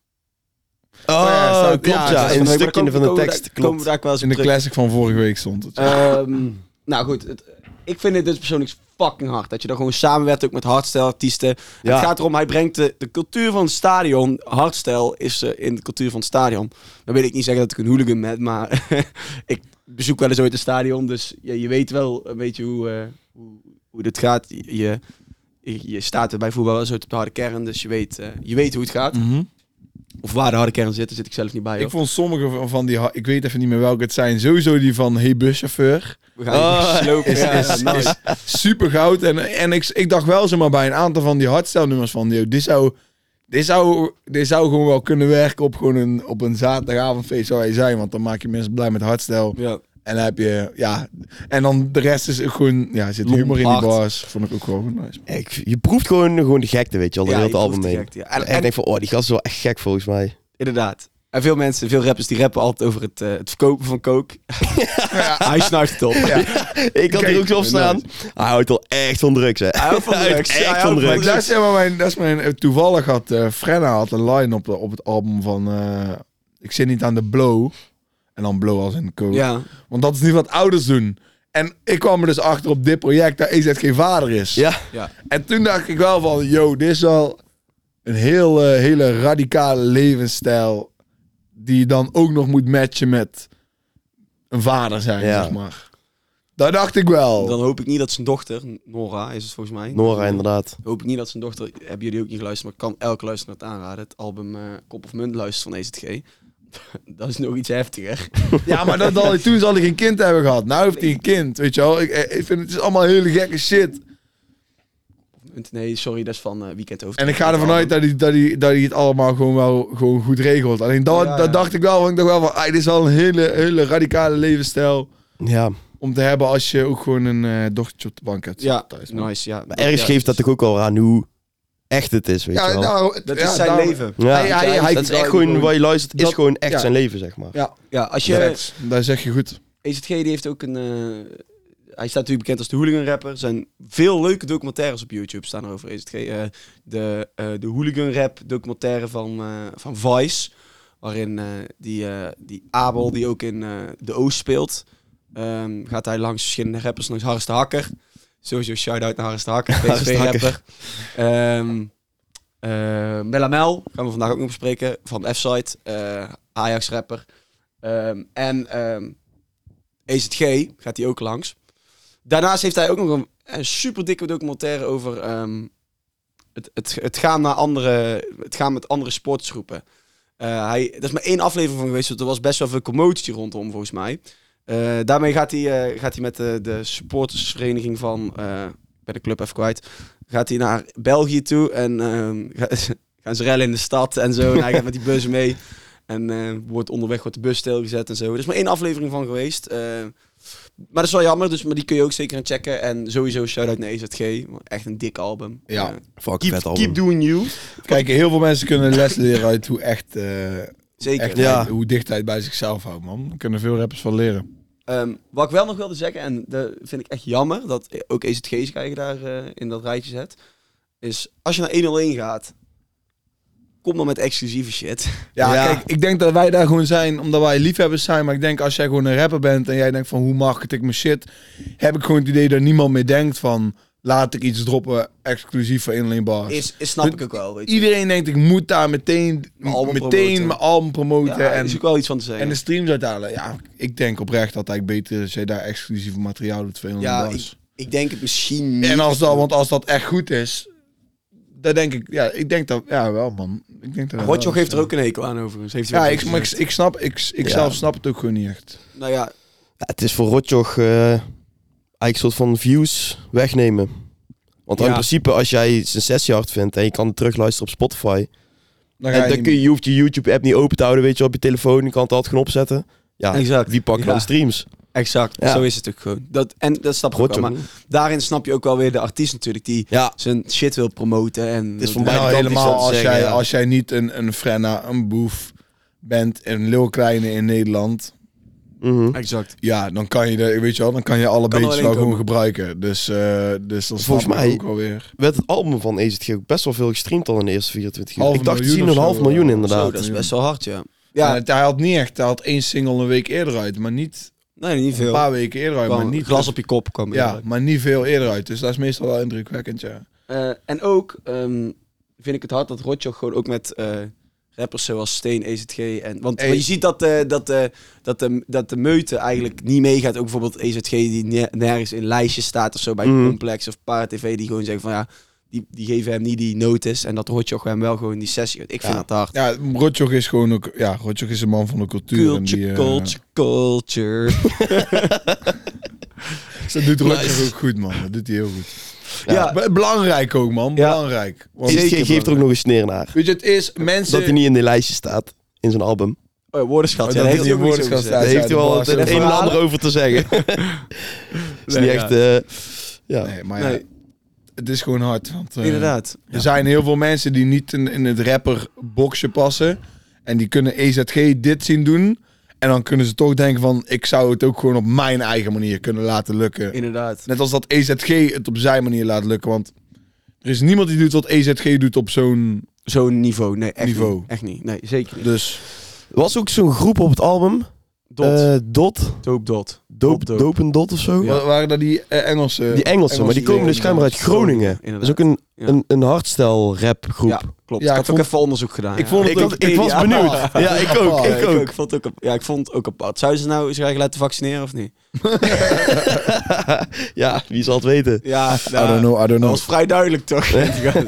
Speaker 3: Oh,
Speaker 1: ja, staat-
Speaker 3: klopt
Speaker 1: ja,
Speaker 3: ja.
Speaker 1: staat
Speaker 3: In
Speaker 2: een
Speaker 3: een stukje van de tekst.
Speaker 2: Komen we
Speaker 3: Klopt.
Speaker 2: daar ook wel eens
Speaker 1: In
Speaker 2: op
Speaker 1: de
Speaker 2: terug.
Speaker 1: classic van vorige week stond het.
Speaker 2: Ehm, nou goed, het- ik vind dit dus persoonlijk fucking hard. Dat je daar gewoon samenwerkt ook met hardstyle artiesten.
Speaker 3: Ja.
Speaker 2: Het gaat erom, hij brengt de, de cultuur van het stadion. Hardstyle is eh, in de cultuur van het stadion. Dan wil ik niet zeggen dat ik een hooligan ben, maar ik bezoek wel eens ooit een stadion. Dus je, je weet wel een beetje hoe, eh, hoe, hoe dit gaat. Je, je, je staat er bij voetbal wel eens ooit op de harde kern, dus je weet, eh, je weet hoe het gaat.
Speaker 1: Mhm.
Speaker 2: Of waar de harde kern zit, daar zit ik zelf niet bij.
Speaker 1: Ik
Speaker 2: hoor.
Speaker 1: vond sommige van- van die, ha- ik weet even niet meer welke het zijn, sowieso die van Hey Buschauffeur.
Speaker 2: We gaan hier slopen.
Speaker 1: Is,
Speaker 2: Oh. Ja,
Speaker 1: is,
Speaker 2: nice.
Speaker 1: is super goud. En, en ik, ik dacht wel zomaar bij een aantal van die hardstyle nummers van, yo, dit zou, dit, zou, dit zou gewoon wel kunnen werken op, gewoon een, op een zaterdagavondfeest zou hij zijn. Want dan maak je mensen blij met hardstyle.
Speaker 2: Ja.
Speaker 1: En dan heb je, ja, en dan de rest is ook gewoon, ja, zit humor in die
Speaker 2: Lompard.
Speaker 1: bars. Vond ik ook gewoon nice.
Speaker 3: Ja, ik- Je proeft gewoon, gewoon de gekte, weet je wel. door
Speaker 2: Ja,
Speaker 3: heel het
Speaker 2: je proeft
Speaker 3: album
Speaker 2: de
Speaker 3: heen.
Speaker 2: gekte, ja. En-
Speaker 3: En
Speaker 2: en-
Speaker 3: ik denk van, oh, die gast is wel echt gek volgens mij.
Speaker 2: Inderdaad. En veel mensen, veel rappers, die rappen altijd over het, eh, het verkopen van coke. Hij snuift het op.
Speaker 3: Ik had
Speaker 1: Kijk,
Speaker 3: er ook zo op staan. Hij houdt wel echt van drugs, hè.
Speaker 2: Hij houdt van
Speaker 3: Hij houdt
Speaker 2: drugs. Hij houdt
Speaker 3: echt van
Speaker 2: van
Speaker 1: Maar
Speaker 3: drugs.
Speaker 1: dat is helemaal mijn, dat is mijn, toevallig had eh Frenna had een line op, de, op het album van eh, Ik zit niet aan de blow. En dan blow als een coach.
Speaker 2: Ja.
Speaker 1: Want dat is niet wat ouders doen. En ik kwam er dus achter op dit project dat EZ geen vader is.
Speaker 3: Ja.
Speaker 2: ja.
Speaker 1: En toen dacht ik wel van, yo, dit is wel een heel, eh, hele radicale levensstijl. Die je dan ook nog moet matchen met een vader zijn,
Speaker 3: Ja.
Speaker 1: zeg maar. Dat dacht ik wel.
Speaker 2: Dan hoop ik niet dat zijn dochter, Nora is het volgens mij.
Speaker 3: Nora, inderdaad.
Speaker 2: Hoop ik niet dat zijn dochter, hebben jullie ook niet geluisterd, maar ik kan elke luisteraar het aanraden. Het album eh, Kop of Munt luisteren van EZG. dat is nog iets heftiger.
Speaker 1: Ja, maar dat, al toen zal hij geen kind hebben gehad. Nou heeft hij een kind, weet je wel. Ik, eh, ik vind het is allemaal hele gekke shit.
Speaker 2: Nee, sorry, dat is van eh Weekend Over.
Speaker 1: En ik ga ervan uit dat hij, dat, hij, dat hij het allemaal gewoon wel gewoon goed regelt. Alleen dat,
Speaker 2: Ja, ja.
Speaker 1: dat dacht ik wel. Want ik dacht wel van, ah, dit is al een hele, hele radicale levensstijl
Speaker 3: Ja.
Speaker 1: om te hebben als je ook gewoon een eh, dochtertje op de bank hebt.
Speaker 2: Ja, Nou,
Speaker 1: thuis, man.
Speaker 2: nice. Ja.
Speaker 3: Maar ergens
Speaker 2: Ja,
Speaker 3: geeft dat toch ook al aan hoe echt het is, weet je
Speaker 1: Ja,
Speaker 3: wel.
Speaker 1: daarom-
Speaker 2: Dat
Speaker 1: ja,
Speaker 2: is zijn
Speaker 1: daarom-
Speaker 2: leven.
Speaker 3: ja,
Speaker 1: hij- hij- hij-
Speaker 3: dat is echt
Speaker 1: hij-
Speaker 3: gewoon, waar je luistert, is
Speaker 1: dat-
Speaker 3: gewoon echt
Speaker 1: ja.
Speaker 3: zijn leven, zeg maar.
Speaker 1: Ja,
Speaker 2: Ja, als je...
Speaker 1: direct. Daar zeg je goed.
Speaker 2: EZG die heeft ook een. eh, hij staat natuurlijk bekend als de hooligan rapper. Er zijn veel leuke documentaires op YouTube staan er over EZG. Eh, de, eh, de hooligan rap documentaire van, eh, van Vice. Waarin eh, die, eh, die Abel, die ook in eh, de Oost speelt, ehm, gaat hij langs verschillende rappers, langs Harris de Hakker. Sowieso shout-out naar Harris de Hakker,
Speaker 3: Harris de
Speaker 2: PSV-rapper. Ehm eh, Mellamel, gaan we vandaag ook nog bespreken, van F-Site, eh, Ajax-rapper. Ehm, en ehm EZG gaat hij ook langs. Daarnaast heeft hij ook nog een, een super dikke documentaire over ehm, het, het, het, gaan naar andere, het gaan met andere sportsgroepen. Eh, hij, er is maar één aflevering van geweest, want er was best wel veel commotie rondom volgens mij. Eh, daarmee gaat hij, eh, gaat hij met de, de supportersvereniging van, eh, ik ben de club even kwijt, gaat hij naar België toe en ehm, ga- gaan ze rellen in de stad en zo. En hij gaat met die bus mee en eh, wordt onderweg wordt de bus stilgezet en zo. Er is maar één aflevering van geweest. eh, maar dat is wel jammer, dus, maar die kun je ook zeker gaan checken. En sowieso shout-out naar EZG, echt een dik album.
Speaker 1: Ja.
Speaker 2: Eh,
Speaker 3: Fuck,
Speaker 2: keep,
Speaker 3: vet album.
Speaker 2: keep doing you.
Speaker 1: Kijk, heel veel mensen kunnen les leren uit hoe echt, eh,
Speaker 2: Zeker.
Speaker 1: echt
Speaker 3: Ja.
Speaker 1: hij- hoe dicht hij het bij zichzelf houdt, man. Daar kunnen veel rappers van leren.
Speaker 2: Ehm, wat ik wel nog wilde zeggen, en dat vind ik echt jammer, dat ook EZG zijn eigen daar eh, in dat rijtje zet, is als je naar 101 gaat, kom dan met exclusieve shit.
Speaker 1: Ja,
Speaker 3: Ja.
Speaker 1: kijk, ik denk dat wij daar gewoon zijn omdat wij liefhebbers zijn. Maar ik denk als jij gewoon een rapper bent en jij denkt van hoe market ik mijn shit, heb ik gewoon het idee dat niemand meer denkt van laat ik iets droppen exclusief voor alleen bars.
Speaker 2: Is, is, snap ik ook wel, weet je.
Speaker 1: Iedereen denkt, ik moet daar meteen
Speaker 2: Mijn album
Speaker 1: meteen
Speaker 2: promoten.
Speaker 1: mijn album promoten.
Speaker 2: Ja, er
Speaker 1: en,
Speaker 2: is ook wel iets van te zeggen.
Speaker 1: en de streams uithalen. Ja, ik denk oprecht dat het beter is als je daar exclusief materiaal doet voor alleen
Speaker 2: ja,
Speaker 1: bars.
Speaker 2: ik, ik denk het misschien niet.
Speaker 1: En als dat, want als dat echt goed is, dan denk ik, ja, ik denk dat, ja, wel man. Ik denk dat dat
Speaker 2: Rotjoch
Speaker 1: wel
Speaker 2: heeft
Speaker 1: is,
Speaker 2: er ook een hekel aan overigens. Heeft hij
Speaker 1: Ja,
Speaker 2: ook
Speaker 1: ik, maar ik,
Speaker 2: gezegd.
Speaker 1: ik snap, ik, ik
Speaker 3: Ja.
Speaker 1: zelf snap het ook gewoon niet echt.
Speaker 2: Nou ja,
Speaker 3: Ja, het is voor Rotjoch eh, eigenlijk een soort van views wegnemen. Want
Speaker 2: Ja.
Speaker 3: in principe, als jij zijn sessie hard vindt en je kan het terugluisteren op Spotify.
Speaker 1: Dan ga
Speaker 3: En
Speaker 1: je
Speaker 3: dan
Speaker 1: niet
Speaker 3: kun je, je hoeft je YouTube-app niet open te houden, weet je, op je telefoon. Je kan het altijd gaan opzetten. Ja,
Speaker 2: Exact.
Speaker 3: die pakken
Speaker 2: Ja.
Speaker 3: dan streams.
Speaker 2: exact.
Speaker 3: Ja.
Speaker 2: Zo is het ook gewoon. Dat, en dat snap ik ook wel.
Speaker 3: Rotjoch.
Speaker 2: Maar daarin snap je ook wel weer de artiest natuurlijk die
Speaker 3: Ja,
Speaker 2: zijn shit wil promoten. En
Speaker 3: Het is van
Speaker 1: Nou,
Speaker 3: beide kanten
Speaker 1: helemaal
Speaker 3: iets aan
Speaker 1: als,
Speaker 3: te zeggen,
Speaker 1: jij,
Speaker 3: ja.
Speaker 1: als jij niet een, een Frenna, een Boef bent, een Lil Kleine in Nederland,
Speaker 3: mhm.
Speaker 2: Exact.
Speaker 1: ja, dan kan je, de, weet je wel, dan kan je alle
Speaker 2: Kan er
Speaker 1: beetjes
Speaker 2: alleen
Speaker 1: wel gewoon
Speaker 2: komen.
Speaker 1: gebruiken. Dus, eh dus dan
Speaker 3: Volgens
Speaker 1: snap ik
Speaker 3: mij-
Speaker 1: ook alweer.
Speaker 3: werd het album van AZG ook best wel veel gestreamd al in de eerste 24 uur.
Speaker 1: Half
Speaker 3: ik dacht
Speaker 1: miljoen
Speaker 3: zien
Speaker 1: of
Speaker 3: een
Speaker 1: zo,
Speaker 3: half miljoen
Speaker 1: ja.
Speaker 2: Zo,
Speaker 3: inderdaad.
Speaker 2: dat is
Speaker 1: ja.
Speaker 2: best wel hard, ja.
Speaker 1: Ja.
Speaker 2: Ja,
Speaker 1: hij had niet echt, hij had één single een week eerder uit, maar niet
Speaker 2: nee, niet
Speaker 1: een
Speaker 2: veel.
Speaker 1: paar weken eerder uit, maar
Speaker 2: Kwam-
Speaker 1: niet dus-
Speaker 2: glas op je kop kwam.
Speaker 1: ja,
Speaker 2: eerder.
Speaker 1: maar niet veel eerder uit. Dus dat is meestal wel indrukwekkend, ja.
Speaker 2: Eh, en ook ehm, vind ik het hard dat Rotjoch gewoon ook met eh, rappers zoals Steen, EZG en... Want
Speaker 1: Hey.
Speaker 2: want je ziet dat, eh, dat, eh, dat, de, dat de meute eigenlijk niet meegaat. Ook bijvoorbeeld EZG die ne- nergens in lijstjes staat of zo bij
Speaker 3: Mhm.
Speaker 2: Complex of Para TV. Die gewoon zeggen van ja, die, die geven hem niet die notice. En dat Rotjoch hem wel gewoon die sessie... Ik vind
Speaker 3: Ja.
Speaker 2: dat hard.
Speaker 1: Ja, Rotjoch is gewoon ook, ja, Rotjoch is een man van de cultuur. en die,
Speaker 2: Culture,
Speaker 1: eh,
Speaker 2: culture, culture.
Speaker 1: Dat doet Rotjoch
Speaker 3: Nice.
Speaker 1: ook goed, man. Dat doet hij heel goed.
Speaker 2: Ja.
Speaker 1: Ja, be- Belangrijk ook, man.
Speaker 2: Ja.
Speaker 1: Belangrijk. Want-
Speaker 3: AZG
Speaker 2: Zeker
Speaker 3: geeft er ook nog een sneer naar.
Speaker 1: Weet je, het is mensen...
Speaker 3: Dat hij niet in de lijstje staat, in zijn album.
Speaker 2: Oh ja, woordenschat.
Speaker 1: Oh,
Speaker 2: ja,
Speaker 1: dat
Speaker 2: daar
Speaker 1: heeft
Speaker 2: hij
Speaker 1: hij
Speaker 2: ook iets over
Speaker 1: woordenschat Ja,
Speaker 2: gezegd.
Speaker 3: Daar
Speaker 1: ja,
Speaker 3: heeft hij
Speaker 1: de
Speaker 3: wel
Speaker 1: baas
Speaker 3: het
Speaker 1: en
Speaker 3: een
Speaker 1: de
Speaker 3: en
Speaker 2: verhalen.
Speaker 3: ander over te zeggen. is niet
Speaker 2: Nee,
Speaker 3: echt...
Speaker 2: ja.
Speaker 3: eh, ja.
Speaker 1: Nee, maar ja,
Speaker 2: Nee,
Speaker 1: het is gewoon hard. Want, eh,
Speaker 2: inderdaad.
Speaker 1: Er zijn heel veel mensen die niet in, in het rapperboxje passen. En die kunnen EZG dit zien doen. En dan kunnen ze toch denken van... Ik zou het ook gewoon op mijn eigen manier kunnen laten lukken.
Speaker 2: Inderdaad.
Speaker 1: Net als dat EZG het op zijn manier laat lukken. Want er is niemand die doet wat EZG doet op zo'n...
Speaker 2: Zo'n niveau. Nee, echt
Speaker 1: Niveau.
Speaker 2: niet. Echt niet. Nee, zeker niet.
Speaker 1: Dus...
Speaker 3: Er was ook zo'n groep op het album.
Speaker 2: Dot.
Speaker 3: eh, Dot.
Speaker 2: Doop dot.
Speaker 3: Doop,
Speaker 2: Dope.
Speaker 3: doop en Dot of zo.
Speaker 1: Wa- Waren dat die eh, Engelse...
Speaker 3: Die Engelsen, maar die komen dus
Speaker 1: dingen,
Speaker 3: schijnbaar uit Groningen.
Speaker 2: Groningen,
Speaker 3: Dat is ook een,
Speaker 2: ja.
Speaker 3: een, een hardstyle rap groep.
Speaker 2: Ja, klopt.
Speaker 1: Ja,
Speaker 2: ik
Speaker 1: ik
Speaker 2: had
Speaker 1: vond-
Speaker 2: ook even onderzoek gedaan.
Speaker 1: ik
Speaker 2: ja.
Speaker 1: vond het
Speaker 3: Ik, had, ik was
Speaker 2: Ja.
Speaker 3: benieuwd.
Speaker 2: Ja,
Speaker 3: Ja, ik ook.
Speaker 2: ik
Speaker 3: Ik
Speaker 2: ook.
Speaker 3: ook.
Speaker 2: Ik vond het ook, ja, ik vond het ook apart. Zou ze nou zich eigenlijk laten vaccineren of niet?
Speaker 3: Ja, wie zal het weten.
Speaker 2: Ja,
Speaker 1: I don't know, I don't
Speaker 2: dat
Speaker 1: know.
Speaker 2: was vrij duidelijk toch? Ja.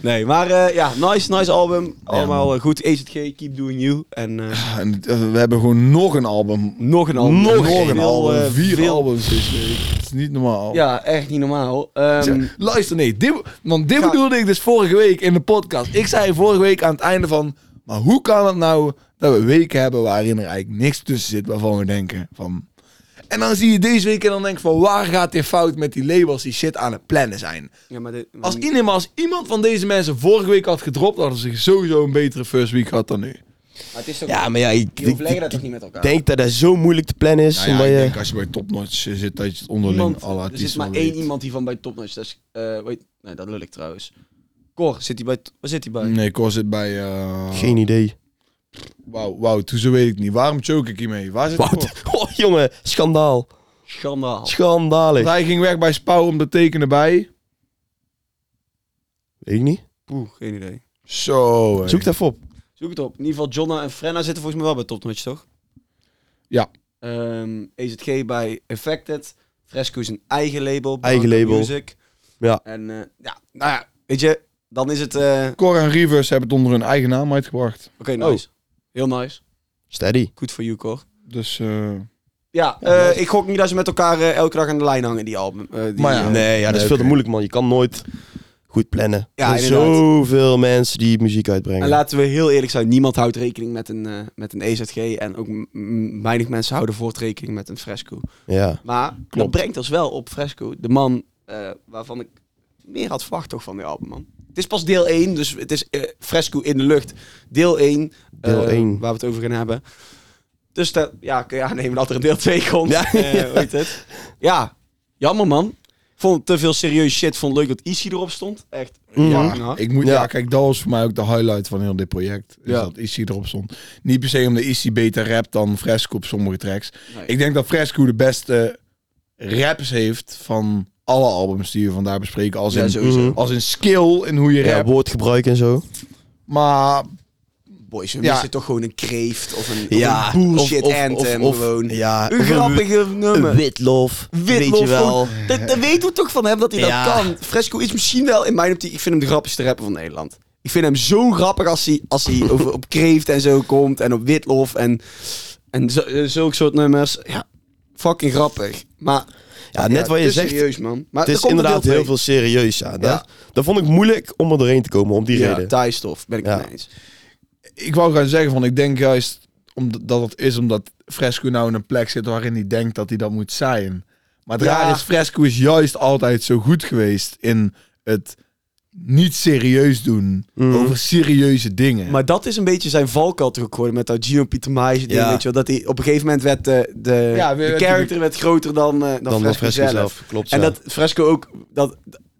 Speaker 2: nee, maar eh, ja, nice, nice album. Allemaal eh, goed. EZG, keep doing you. En eh,
Speaker 1: En, eh, we hebben gewoon nog een album.
Speaker 2: nog een album.
Speaker 1: Nog
Speaker 2: Veel,
Speaker 1: een
Speaker 2: eh,
Speaker 1: album. Vier
Speaker 2: veel-
Speaker 1: albums is Het is niet normaal.
Speaker 2: Ja, echt niet normaal. Ehm,
Speaker 1: Zeg, luister, nee. Dit, want dit
Speaker 2: Ga-
Speaker 1: bedoelde ik dus vorige week in de podcast. Ik zei vorige week aan het einde van... Maar hoe kan het nou dat we weken hebben waarin er eigenlijk niks tussen zit waarvan we denken van... En dan zie je deze week en dan denk ik van waar gaat dit fout met die labels die shit aan het plannen zijn.
Speaker 2: ja, maar dit-
Speaker 1: Als, in- nee, maar als iemand van deze mensen vorige week had gedropt, hadden ze sowieso een betere first week gehad dan nu.
Speaker 2: maar het is toch,
Speaker 3: Ja, maar ja, ik,
Speaker 2: je
Speaker 3: ik,
Speaker 2: overleggen dat
Speaker 3: ik
Speaker 2: toch niet met elkaar?
Speaker 3: denk dat dat zo moeilijk te plannen is.
Speaker 1: Nou ja,
Speaker 3: omdat
Speaker 1: ik
Speaker 3: je,
Speaker 1: denk als je bij topnotch eh, zit, dat je het onderling
Speaker 2: Iemand-
Speaker 1: alle
Speaker 2: er
Speaker 1: artiesten
Speaker 2: zit maar
Speaker 1: wel
Speaker 2: één
Speaker 1: weet.
Speaker 2: iemand die van bij Topnotch. Dat is, eh, weet, nee, dat lul ik trouwens. Cor, zit hij bij? Waar zit hij bij?
Speaker 1: Nee, Cor zit bij... eh
Speaker 3: Geen idee.
Speaker 1: Wauw, wauw, toen zo weet ik niet. Waarom choke ik hiermee? Waar zit Cor?
Speaker 3: Wout, oh jongen, schandaal.
Speaker 2: Schandaal.
Speaker 1: Want
Speaker 3: Schandalig.
Speaker 1: hij ging weg bij Spouw om te tekenen bij.
Speaker 3: Weet ik niet.
Speaker 2: Poeh, geen idee.
Speaker 1: Zo. hé.
Speaker 3: Zoek het even op.
Speaker 2: Zoek het op. In ieder geval Jonna en Frenna zitten volgens mij wel bij Topnotch, toch?
Speaker 1: Ja.
Speaker 2: Ehm, EZG bij Affected. Fresco is een eigen label.
Speaker 3: Eigen
Speaker 2: Blanco
Speaker 3: label.
Speaker 2: Music.
Speaker 3: Ja.
Speaker 2: En eh, ja, nou ja, weet je, dan is het... eh,
Speaker 1: Cor en Reverse hebben het onder hun eigen naam uitgebracht.
Speaker 2: Oké, nice. Heel nice.
Speaker 3: Steady.
Speaker 2: Goed voor you, Cor.
Speaker 1: Dus, eh,
Speaker 2: Ja, eh, ik gok niet dat ze met elkaar eh, elke dag aan de lijn hangen, die album. eh, die,
Speaker 1: Maar ja,
Speaker 2: eh,
Speaker 3: Nee, ja, dat is
Speaker 1: Nee,
Speaker 3: veel te
Speaker 1: oké.
Speaker 3: moeilijk, man. Je kan nooit goed plannen.
Speaker 2: Ja,
Speaker 3: er zijn
Speaker 2: inderdaad.
Speaker 3: zoveel mensen die muziek
Speaker 2: En
Speaker 3: uitbrengen.
Speaker 2: laten we heel eerlijk zijn, niemand houdt rekening met een, eh, met een EZG. En ook m- m- weinig mensen houden voort rekening met een Fresco.
Speaker 3: ja.
Speaker 2: Maar dat brengt ons wel op Fresco. De man eh, waarvan ik meer had verwacht toch van die album, man. Het is pas deel 1, dus het is eh, Fresco in de lucht. Deel 1,
Speaker 3: Deel
Speaker 2: eh,
Speaker 3: één.
Speaker 2: waar we het over gaan hebben. Dus dat, ja, kun je aannemen dat er een deel 2 komt.
Speaker 3: Ja.
Speaker 2: Ja, weet het. Ja, jammer man. Vond het te veel serieus shit. Vond het leuk dat Issy erop stond. Echt.
Speaker 3: Mhm.
Speaker 2: Ah. Ja, nou.
Speaker 1: ja, ik moet, ja.
Speaker 3: Ja.
Speaker 1: kijk, dat was voor mij ook de highlight van heel dit project. Is
Speaker 2: Ja.
Speaker 1: dat Issy erop stond. Niet per se omdat Issy beter rapt dan Fresco op sommige tracks.
Speaker 2: Nee.
Speaker 1: Ik denk dat Fresco de beste raps heeft van alle albums die we vandaag bespreken als
Speaker 2: Ja,
Speaker 1: in,
Speaker 2: sowieso.
Speaker 1: als in skill in hoe je
Speaker 3: Ja,
Speaker 1: rapt.
Speaker 3: woordgebruik en zo.
Speaker 1: Maar
Speaker 2: Boys, we
Speaker 1: Ja.
Speaker 2: missen toch gewoon een kreeft of een, of
Speaker 3: Ja,
Speaker 2: een bullshit
Speaker 3: of- of- of-
Speaker 2: anthem
Speaker 3: of-
Speaker 2: gewoon.
Speaker 3: ja,
Speaker 2: een
Speaker 3: of een
Speaker 2: grappige nummer.
Speaker 3: Witlof, weet je
Speaker 2: Witlof
Speaker 3: wel.
Speaker 2: gewoon. Dat, dat weten we toch van hem dat hij
Speaker 3: Ja.
Speaker 2: dat kan. Fresco is misschien wel in mijn optiek. Ik vind hem de grappigste rapper van Nederland. Ik vind hem zo grappig als hij, als hij over, op kreeft en zo komt. En op Witlof en, en zo- eh, zulke soort nummers. Ja, fucking grappig. Maar
Speaker 3: Ja, net wat je
Speaker 2: het is
Speaker 3: zegt.
Speaker 2: serieus, man. Maar
Speaker 3: Het
Speaker 2: er
Speaker 3: is
Speaker 2: komt een
Speaker 3: inderdaad
Speaker 2: deel
Speaker 3: heel
Speaker 2: twee.
Speaker 3: veel serieus, ja. Daar,
Speaker 2: Ja.
Speaker 3: daar vond ik moeilijk om er doorheen te komen, om die
Speaker 2: Ja,
Speaker 3: reden.
Speaker 2: Thai-stof, ben ik het
Speaker 3: Ja.
Speaker 2: mee eens.
Speaker 1: ik wou gaan zeggen van ik denk juist omdat dat het is omdat Fresco nou in een plek zit waarin hij denkt dat hij dat moet zijn. Maar het
Speaker 2: Ja.
Speaker 1: raar is, Fresco is juist altijd zo goed geweest in het niet serieus doen over serieuze dingen.
Speaker 2: Maar dat is een beetje zijn valkuil toch ook geworden met dat Gio Pieter Maes ding,
Speaker 3: Ja.
Speaker 2: weet je wel. Dat hij op een gegeven moment werd de, de,
Speaker 1: Ja, weer
Speaker 2: de
Speaker 1: werd
Speaker 2: character werd groter dan, eh, dan,
Speaker 3: Dan
Speaker 2: Fresco zelf.
Speaker 3: Klopt,
Speaker 2: En
Speaker 3: ja.
Speaker 2: dat Fresco ook, dat,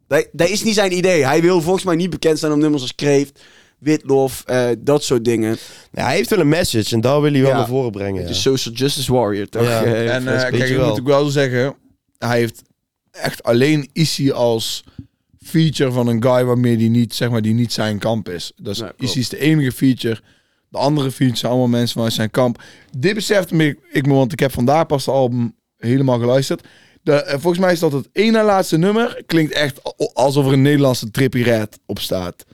Speaker 2: dat, dat is niet zijn idee. Hij wil volgens mij niet bekend zijn om nummers als Kreeft, Witlof, eh, dat soort dingen.
Speaker 3: Ja, hij heeft wel een message en daar wil hij wel
Speaker 2: Ja.
Speaker 3: naar voren brengen. Ja.
Speaker 2: De social justice warrior toch?
Speaker 3: Ja.
Speaker 2: Eh,
Speaker 1: en eh,
Speaker 3: Fresco, weet
Speaker 1: kijk,
Speaker 3: je
Speaker 1: ik
Speaker 3: wel.
Speaker 1: moet ook wel zeggen, hij heeft echt alleen Issy als feature van een guy waarmee die niet, zeg maar, die niet zijn kamp is. Dus
Speaker 2: Nee, klopt.
Speaker 1: Issy is de enige feature. De andere features zijn allemaal mensen vanuit zijn kamp. Dit besefte me- ik me, want ik heb vandaag pas de album helemaal geluisterd. De, eh, volgens mij is dat het ene laatste nummer. Klinkt echt a- alsof er een Nederlandse trippy red op staat.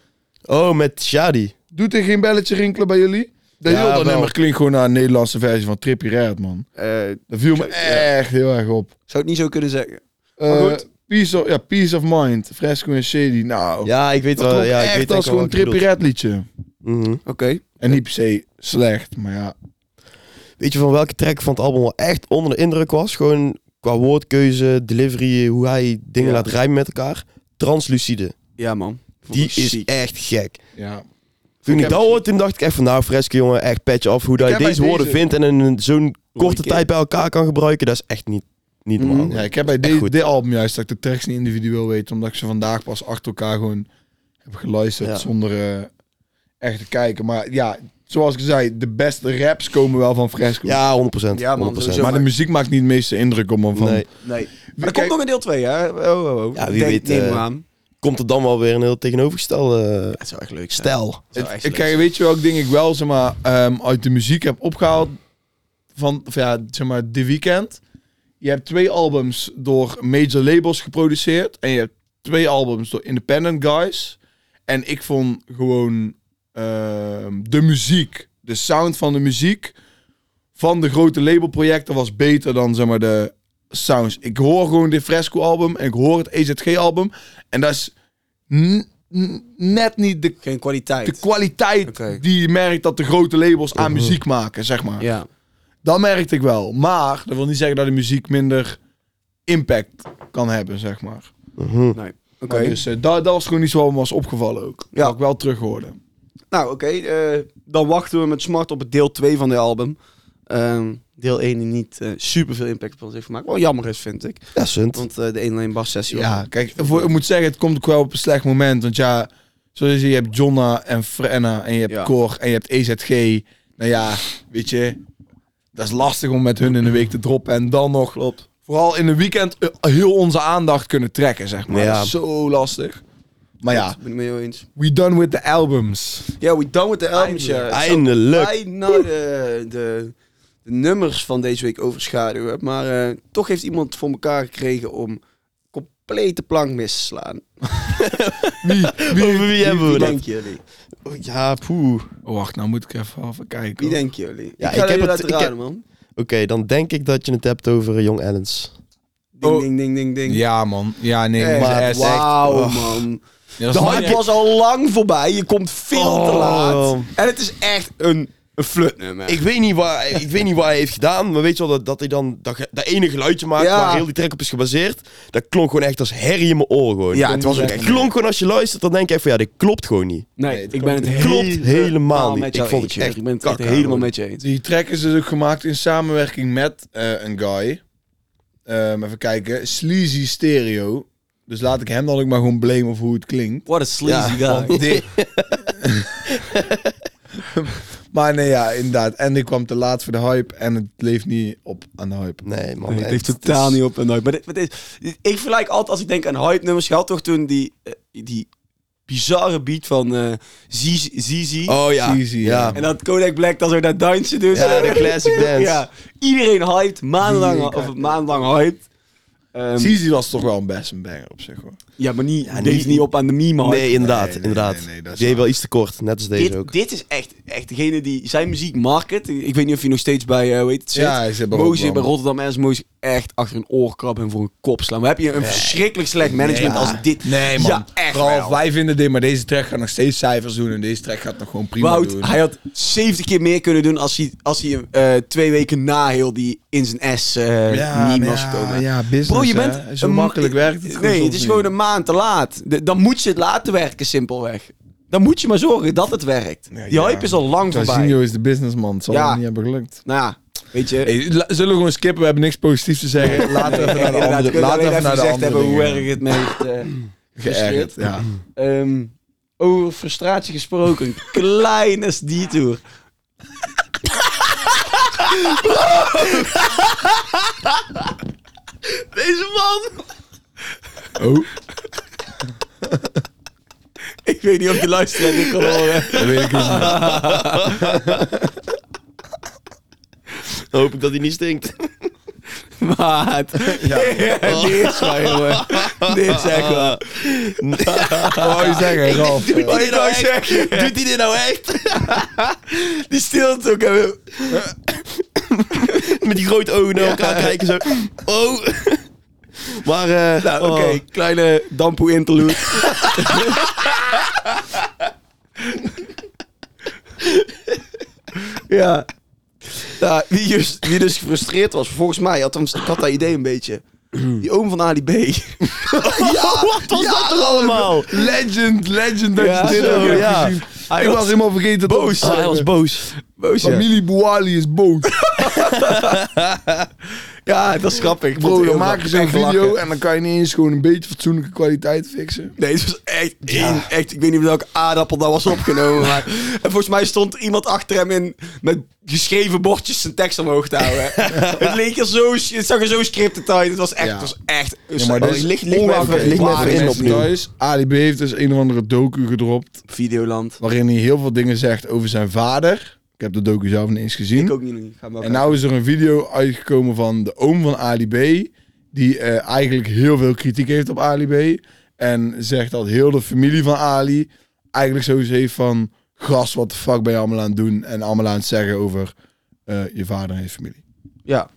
Speaker 3: Oh, met Shadi.
Speaker 1: Doet er geen belletje rinkelen bij jullie? De
Speaker 3: Ja,
Speaker 1: hele
Speaker 3: wel.
Speaker 1: nummer klinkt gewoon naar een Nederlandse versie van Trippy Red, man.
Speaker 2: eh,
Speaker 1: Dat viel me
Speaker 2: Ja.
Speaker 1: echt heel erg op.
Speaker 2: zou het niet zo kunnen zeggen.
Speaker 1: Eh,
Speaker 2: goed.
Speaker 1: Peace of, ja, peace of Mind, Fresco en Shady. Nou,
Speaker 3: Ja, ik weet
Speaker 1: dat
Speaker 3: wel.
Speaker 1: klonk
Speaker 3: Ja, ik
Speaker 1: echt
Speaker 3: weet
Speaker 1: als
Speaker 3: denk
Speaker 1: gewoon
Speaker 3: wel
Speaker 1: een
Speaker 3: wat je
Speaker 1: trippy red liedje.
Speaker 3: bedoelt. Mhm.
Speaker 2: Oké.
Speaker 1: En niet per se slecht, maar ja.
Speaker 3: Weet je van welke track van het album wel echt onder de indruk was? Gewoon qua woordkeuze, delivery, hoe hij dingen
Speaker 2: Ja.
Speaker 3: laat rijmen met elkaar. Translucide.
Speaker 2: Ja man. Vond
Speaker 3: Die
Speaker 2: ik
Speaker 3: is
Speaker 2: ziek.
Speaker 3: echt gek.
Speaker 1: ja.
Speaker 3: Toen ik
Speaker 1: heb-
Speaker 3: dat hoorde, toen dacht ik echt van nou Fresco jongen, echt petje af. Hoe dat je
Speaker 1: heb bij
Speaker 3: deze woorden
Speaker 1: deze-
Speaker 3: vindt en in een- zo'n korte
Speaker 2: keer.
Speaker 3: tijd bij elkaar kan gebruiken. Dat is echt niet, niet
Speaker 2: Mhm.
Speaker 3: normaal.
Speaker 1: Ja, ik heb bij
Speaker 3: echt
Speaker 1: dit
Speaker 3: goed.
Speaker 1: dit album juist dat ik de tracks niet individueel weet, omdat ik ze vandaag pas achter elkaar gewoon heb geluisterd
Speaker 3: Ja.
Speaker 1: zonder eh, echt te kijken. Maar ja, zoals ik zei, de beste raps komen wel van Fresco.
Speaker 3: Ja, 100%.
Speaker 2: Ja, man, dus-
Speaker 3: 100%.
Speaker 2: sowieso.
Speaker 1: maar de muziek maakt niet de meeste indruk op me van.
Speaker 3: Nee.
Speaker 2: Nee. Maar er
Speaker 1: Kijk-
Speaker 2: komt nog een deel 2 hè? Oh, oh, oh.
Speaker 3: Ja, wie
Speaker 2: Denk-
Speaker 3: weet,
Speaker 2: Neem
Speaker 3: eh,
Speaker 2: maar aan.
Speaker 3: Komt er dan wel weer een heel tegenovergestelde eh,
Speaker 2: Dat zou echt leuk zijn.
Speaker 3: stijl.
Speaker 2: Dat zou echt
Speaker 1: Ik
Speaker 2: leuk
Speaker 1: kijk, weet je welk ding ik wel zeg maar, ehm, uit de muziek heb opgehaald van, of ja, zeg maar, The Weeknd. Je hebt twee albums door major labels geproduceerd en je hebt twee albums door independent guys. En ik vond gewoon ehm, de muziek, de sound van de muziek van de grote labelprojecten was beter dan zeg maar de sounds. Ik hoor gewoon dit Fresco album en ik hoor het EZG album en dat is n- n- net niet de
Speaker 2: Geen kwaliteit.
Speaker 1: de kwaliteit
Speaker 2: Oké.
Speaker 1: die je merkt dat de grote labels aan muziek maken, zeg maar.
Speaker 2: ja.
Speaker 1: Dat merkte ik wel. Maar dat wil niet zeggen dat de muziek minder impact kan hebben, zeg maar.
Speaker 3: Mhm.
Speaker 2: Nee. Oké.
Speaker 1: Maar Dus eh, dat, dat was gewoon niet zo wat me was opgevallen ook.
Speaker 2: Ja.
Speaker 1: Ja. Wat ik wel terug hoorde.
Speaker 2: Nou, oké. eh, dan wachten we met smart op het deel 2 van de album. Ehm, deel 1 die niet eh, super veel impact op ons heeft gemaakt. Wel jammer is, vind ik.
Speaker 3: Ja, Sunt.
Speaker 2: Want eh, de 1 alleen bas sessie.
Speaker 1: Ja, kijk, voor, ik moet zeggen, het komt ook wel op een slecht moment. Want ja, zoals je ziet, je hebt Jonna en Frenna en je hebt
Speaker 2: Ja.
Speaker 1: Cor en je hebt EZG. Nou ja, weet je, dat is lastig om met hun in de week te droppen. En dan nog,
Speaker 2: Klopt.
Speaker 1: vooral in een weekend, eh, heel onze aandacht kunnen trekken, zeg maar.
Speaker 3: Ja.
Speaker 1: Dat is zo lastig. Maar ja,
Speaker 2: Dat ben ik mee eens.
Speaker 1: we done with the albums.
Speaker 2: Ja, we done with the albums. ja. Het zou
Speaker 3: Eindelijk.
Speaker 2: Bijna de, de, de nummers van deze week overschaduwen. Maar eh, toch heeft iemand voor elkaar gekregen om complete plank mis te slaan.
Speaker 1: Wie?
Speaker 3: Over wie hebben we
Speaker 2: Wie
Speaker 3: dat?
Speaker 2: denken jullie?
Speaker 3: Ja, poeh.
Speaker 1: Oh, wacht, nou moet ik even, even kijken.
Speaker 2: Wie
Speaker 1: hoor.
Speaker 2: denken jullie?
Speaker 3: Ja,
Speaker 2: ik ga
Speaker 3: ik heb
Speaker 2: jullie
Speaker 3: het-
Speaker 2: laten
Speaker 3: ik heb-
Speaker 2: raden, man.
Speaker 3: Oké, dan denk ik dat je het hebt over eh, Young Allens.
Speaker 2: Ding,
Speaker 1: Oh.
Speaker 2: ding, ding, ding, ding.
Speaker 1: Ja, man. Ja, nee,
Speaker 2: Echt,
Speaker 1: maar echt.
Speaker 2: Wauw,
Speaker 1: Oh.
Speaker 2: man.
Speaker 1: Ja, dat
Speaker 2: De
Speaker 1: is
Speaker 2: hype
Speaker 1: mijn-
Speaker 2: was al lang voorbij. Je komt veel te
Speaker 3: Oh.
Speaker 2: laat. En het is echt een, een flutnummer.
Speaker 3: Ik weet, niet waar, ik weet niet wat hij heeft gedaan, maar weet je wel dat, dat hij dan dat, ge- dat ene geluidje maakt
Speaker 2: Ja.
Speaker 3: waar heel die track op is gebaseerd. Dat klonk gewoon echt als herrie in mijn oren gewoon.
Speaker 2: ja, het was ook
Speaker 3: Het
Speaker 2: echt...
Speaker 3: klonk gewoon als je luistert, dan denk je echt van ja, dit klopt gewoon niet. Nou,
Speaker 2: Nee, ik ben het
Speaker 3: klopt helemaal niet.
Speaker 2: met
Speaker 3: Ik
Speaker 2: jou
Speaker 3: vond
Speaker 2: eens,
Speaker 3: het
Speaker 2: joh.
Speaker 3: echt
Speaker 2: Ik ben het
Speaker 3: kakker,
Speaker 2: helemaal
Speaker 3: hoor.
Speaker 2: met je eens.
Speaker 1: Die track is dus ook gemaakt in samenwerking met eh, een guy. Ehm, even kijken. Sleazy Stereo. Dus laat ik hem dan ook maar gewoon blamen of hoe het klinkt.
Speaker 2: What a sleazy
Speaker 1: Want dit- Maar nee, ja, inderdaad. En ik kwam te laat voor de hype en het leeft niet op aan de hype.
Speaker 3: Nee, man.
Speaker 2: Nee, het
Speaker 3: echt,
Speaker 2: heeft
Speaker 3: het
Speaker 2: totaal
Speaker 3: is-
Speaker 2: niet op en nooit. Maar dit, maar dit is- dit- ik vergelijk altijd als ik denk aan hype nummers. Je had toch toen die, eh, die bizarre beat van eh Zizi. Zizi.
Speaker 3: Oh ja.
Speaker 1: Easy, ja.
Speaker 3: ja.
Speaker 2: En dat Kodak Black dan zo dat dansje doet.
Speaker 3: Ja, de classic dance.
Speaker 2: Ja, iedereen hyped. Maandenlang,
Speaker 1: Die-
Speaker 2: of maandenlang hyped. Ehm,
Speaker 1: Zizi was toch wel een best een banger op zich hoor.
Speaker 2: ja, maar niet,
Speaker 3: Ja,
Speaker 2: deed
Speaker 3: niet-
Speaker 2: niet op aan de meme hype.
Speaker 3: Nee, inderdaad.
Speaker 1: nee,
Speaker 3: inderdaad.
Speaker 1: nee, nee, dat is
Speaker 3: Die heeft
Speaker 1: waar.
Speaker 3: wel iets te kort. Net als deze
Speaker 2: dit,
Speaker 3: ook.
Speaker 2: dit is echt, echt degene die zijn muziek market. Ik weet niet of je nog steeds bij, eh hoe heet het, zit.
Speaker 1: Ja, hij zit bij
Speaker 2: Moos
Speaker 1: Rotterdam.
Speaker 2: bij Rotterdam en Moos echt achter een oor krabben en voor een kop slaan. Maar heb je een verschrikkelijk slecht management
Speaker 1: Nee, ja.
Speaker 2: als dit?
Speaker 1: Nee man,
Speaker 2: Ja, echt
Speaker 1: vooral
Speaker 2: wel.
Speaker 1: wij vinden dit, maar deze track gaat nog steeds cijfers doen en deze track gaat nog gewoon prima
Speaker 2: Wout,
Speaker 1: doen.
Speaker 2: hij had 70 keer meer kunnen doen als hij, als hij eh, twee weken na heel die in zijn S eh niet was gekomen.
Speaker 1: Ja, business.
Speaker 2: Bro, je bent...
Speaker 1: Zo
Speaker 2: een-
Speaker 1: makkelijk werkt het
Speaker 2: Nee, het is gewoon een maand te laat. De- dan moet je het laten werken, simpelweg. Dan moet je maar zorgen dat het werkt.
Speaker 1: Ja,
Speaker 2: die
Speaker 1: ja.
Speaker 2: hype is al lang voorbij.
Speaker 1: Casino is de businessman, het zal
Speaker 2: Ja.
Speaker 1: hem niet hebben gelukt.
Speaker 2: Nou ja, weet je...
Speaker 1: Hey, la- zullen we gewoon skippen? We hebben niks positiefs te zeggen. Laten we even naar de
Speaker 2: Inderdaad, we
Speaker 1: andere,
Speaker 2: kunnen
Speaker 1: laten we even
Speaker 2: alleen even
Speaker 1: naar de
Speaker 2: gezegd
Speaker 1: andere
Speaker 2: hebben hoe
Speaker 1: dingen.
Speaker 2: erg het me heeft eh,
Speaker 1: geërgerd.
Speaker 2: gefrustreerd.
Speaker 1: Ja.
Speaker 2: Ehm, over frustratie gesproken, een kleine detour. Deze man!
Speaker 1: Oh,
Speaker 2: Ik weet niet of je luistert en ik kan horen.
Speaker 1: dat weet ik niet.
Speaker 3: Dan hoop ik dat hij niet stinkt.
Speaker 2: Maat.
Speaker 1: Ja. Oh.
Speaker 2: Dit is waar, jongen. Dit is echt waar.
Speaker 3: Oh,
Speaker 1: Wat wou je nou zeggen, Ralf?
Speaker 2: Wat ik wou zeggen.
Speaker 3: Doet hij dit nou echt?
Speaker 2: Die stilte ook. hè.
Speaker 3: Met die grote ogen naar elkaar kijken zo. Oh. Maar eh
Speaker 2: Nou, oké.
Speaker 3: oh.
Speaker 2: Kleine dampoe interlude. ja. Nou, wie, dus, wie dus gefrustreerd was, volgens mij, had, hem- ik had dat idee een beetje. Die oom van Ali B.
Speaker 3: Ja, wat was dat toch allemaal?
Speaker 1: Legend, legend dat
Speaker 2: Ja,
Speaker 1: je dit
Speaker 2: zo,
Speaker 1: ook hebt
Speaker 3: ja.
Speaker 1: gezien. ik was, helemaal vergeten dat
Speaker 2: boos.
Speaker 1: dat-
Speaker 2: Oh, Hij was
Speaker 3: boos.
Speaker 2: Boos, ja.
Speaker 1: Familie Bouali is boos.
Speaker 2: ja, dat is grappig. Ik vond
Speaker 1: Bro, dan
Speaker 2: het heel
Speaker 1: maken ze een
Speaker 2: grappig. Echt
Speaker 1: video
Speaker 2: lachen.
Speaker 1: en dan kan je niet eens gewoon een beetje fatsoenlijke kwaliteit fixen.
Speaker 2: Nee, het was echt, één- echt. Ik weet niet welke aardappel daar was opgenomen. Maar, en volgens mij stond iemand achter hem in met geschreven bordjes zijn tekst omhoog te houden. het leek er zo, het zag er zo scripted uit. Het was echt,
Speaker 1: Ja.
Speaker 2: het was echt. Oh,
Speaker 1: Ja, maar dit is
Speaker 2: ligt
Speaker 1: Oké,
Speaker 3: ligt me
Speaker 1: waar
Speaker 3: even in
Speaker 1: mensen
Speaker 3: opnieuw.
Speaker 1: thuis, Ali B heeft dus een of andere docu gedropt.
Speaker 2: Videoland.
Speaker 1: Waarin hij heel veel dingen zegt over zijn vader. Ik heb de docu zelf niet eens gezien.
Speaker 2: Ik ook niet. Ga maar
Speaker 1: En nou is er een video uitgekomen van de oom van Ali B. Die eh, eigenlijk heel veel kritiek heeft op Ali B. En zegt dat heel de familie van Ali eigenlijk sowieso heeft van... Gast, wat de fuck ben je allemaal aan het doen? En allemaal aan het zeggen over eh, je vader en je familie.
Speaker 2: Ja.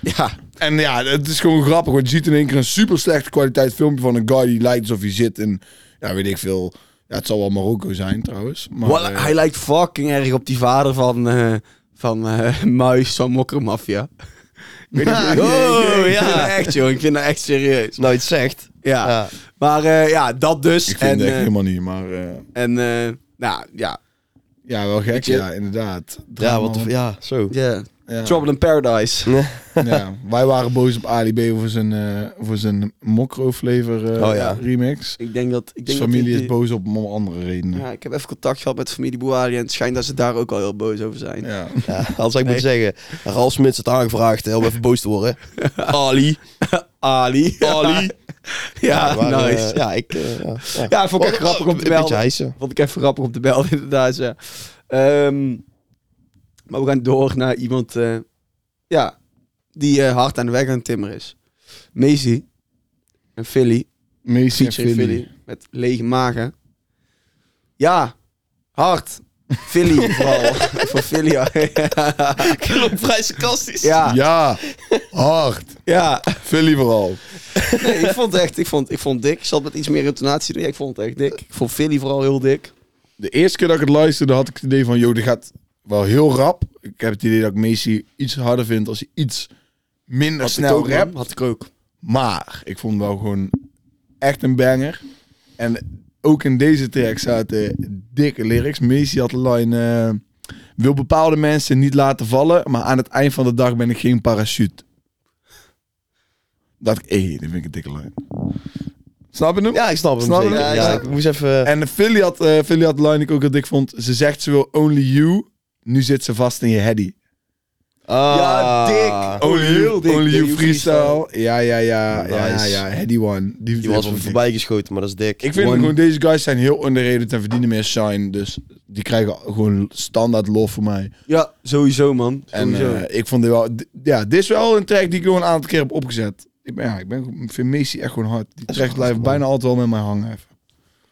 Speaker 2: Ja.
Speaker 1: En ja, het is gewoon grappig. Want je ziet in één keer een super slechte kwaliteit filmpje van een guy die lijkt alsof hij zit in... Ja, weet ik veel. Ja, het zal wel Marokko zijn trouwens. Maar,
Speaker 2: Wel,
Speaker 1: eh,
Speaker 2: hij lijkt fucking erg op die vader van, eh, van eh, Muis van Mokkermafia. Ik weet niet of je-
Speaker 3: Oh,
Speaker 2: Ik vind
Speaker 3: ja.
Speaker 2: dat echt, joh. Ik vind dat echt serieus.
Speaker 3: Nou, iets zegt.
Speaker 2: Ja.
Speaker 3: Ja.
Speaker 2: Maar eh, ja, dat dus.
Speaker 1: ik vind
Speaker 2: en
Speaker 1: het echt
Speaker 2: eh,
Speaker 1: helemaal niet, maar... eh,
Speaker 2: en eh, nou ja,
Speaker 1: ja, wel gek.
Speaker 2: je-
Speaker 1: Ja, inderdaad.
Speaker 3: Ja,
Speaker 1: Drama.
Speaker 3: wat, ja, zo.
Speaker 2: Ja.
Speaker 1: Ja.
Speaker 2: Trouble in Paradise.
Speaker 1: Mm. Ja, wij waren boos op Ali B voor zijn, eh voor zijn Mokro-flavor eh,
Speaker 3: Oh ja.
Speaker 1: remix.
Speaker 2: Ik denk dat... Ik
Speaker 1: Zijn
Speaker 2: denk dat
Speaker 1: familie
Speaker 2: die-
Speaker 1: is boos op om andere redenen. Ja.
Speaker 2: Ja, ik heb even contact gehad met familie Bouali en het schijnt dat ze daar ook al heel boos over zijn.
Speaker 3: Ja, als ik moet zeggen. Ralf Smits had aangevraagd hè, om even boos te worden. Ali.
Speaker 2: Ali.
Speaker 3: Ali.
Speaker 2: Ja,
Speaker 3: Maar, eh,
Speaker 2: nice.
Speaker 3: ja, ik... eh, ja, ja.
Speaker 2: ja, vond ik echt grappig om
Speaker 3: Een
Speaker 2: te melden.
Speaker 3: beetje hijsen.
Speaker 2: Vond ik even grappig op de bel, inderdaad. Ja. Ehm, maar we gaan door naar iemand eh, ja, die eh, hard aan de weg aan het timmeren is. Maisie en Philly.
Speaker 1: Macy en
Speaker 2: Featuring
Speaker 1: Philly.
Speaker 2: Philly. Met lege magen. Ja, hard. Philly vooral. Voor Philly. ja.
Speaker 3: Klonk vrij sarcastisch.
Speaker 2: Ja, ja.
Speaker 1: Ja, hard. Philly vooral.
Speaker 2: Nee, ik vond het echt, ik vond, ik vond het dik. Ik zat met iets meer intonatie doen. Ja, ik vond het echt dik. Ik vond Philly vooral heel dik.
Speaker 1: De eerste keer dat ik het luisterde had ik het idee van... joh, dit gaat wel heel rap. Ik heb het idee dat ik Macy iets harder vind als hij iets minder
Speaker 2: Had ik
Speaker 1: snel
Speaker 2: ook, man.
Speaker 1: rapt.
Speaker 2: Had ik ook.
Speaker 1: Maar ik vond wel gewoon echt een banger. En ook in deze track zaten dikke lyrics. Macy had de line... eh, wil bepaalde mensen niet laten vallen, maar aan het eind van de dag ben ik geen parachute. Dat, hé, dat vind ik een dikke line. Snap je hem?
Speaker 3: Ja, ik snap hem
Speaker 1: Snap je?
Speaker 3: zeker.
Speaker 1: Ja,
Speaker 3: Ja,
Speaker 1: ik
Speaker 3: ik
Speaker 1: snap
Speaker 3: moest even...
Speaker 1: En Philly had, eh Philly had de line die ik ook heel dik vond. Ze zegt ze wil only you, nu zit ze vast in je heady.
Speaker 3: Ah.
Speaker 2: Ja, dik.
Speaker 1: Only you,
Speaker 2: Heel dik,
Speaker 1: only
Speaker 2: de
Speaker 1: you
Speaker 2: You
Speaker 1: freestyle. Ja, ja, ja, ja, ja,
Speaker 3: Nice.
Speaker 1: ja, heady one. Die,
Speaker 3: Die was me
Speaker 1: die-
Speaker 3: voorbij geschoten, maar dat is dik.
Speaker 1: Ik vind
Speaker 3: One-
Speaker 1: gewoon, deze guys zijn heel underrated en verdienen meer shine. Dus die krijgen gewoon standaard lof voor mij.
Speaker 2: Ja, sowieso, man.
Speaker 1: En
Speaker 2: Sowieso.
Speaker 1: eh, ik vond dit wel... d- Ja, dit is wel een track die ik gewoon een aantal keer heb opgezet. Ik, ben, ja, ik, ben, ik vind Macy echt gewoon hard. Die
Speaker 3: is
Speaker 1: track
Speaker 3: hard,
Speaker 1: blijft
Speaker 3: man.
Speaker 1: bijna altijd wel met mij hangen. Even.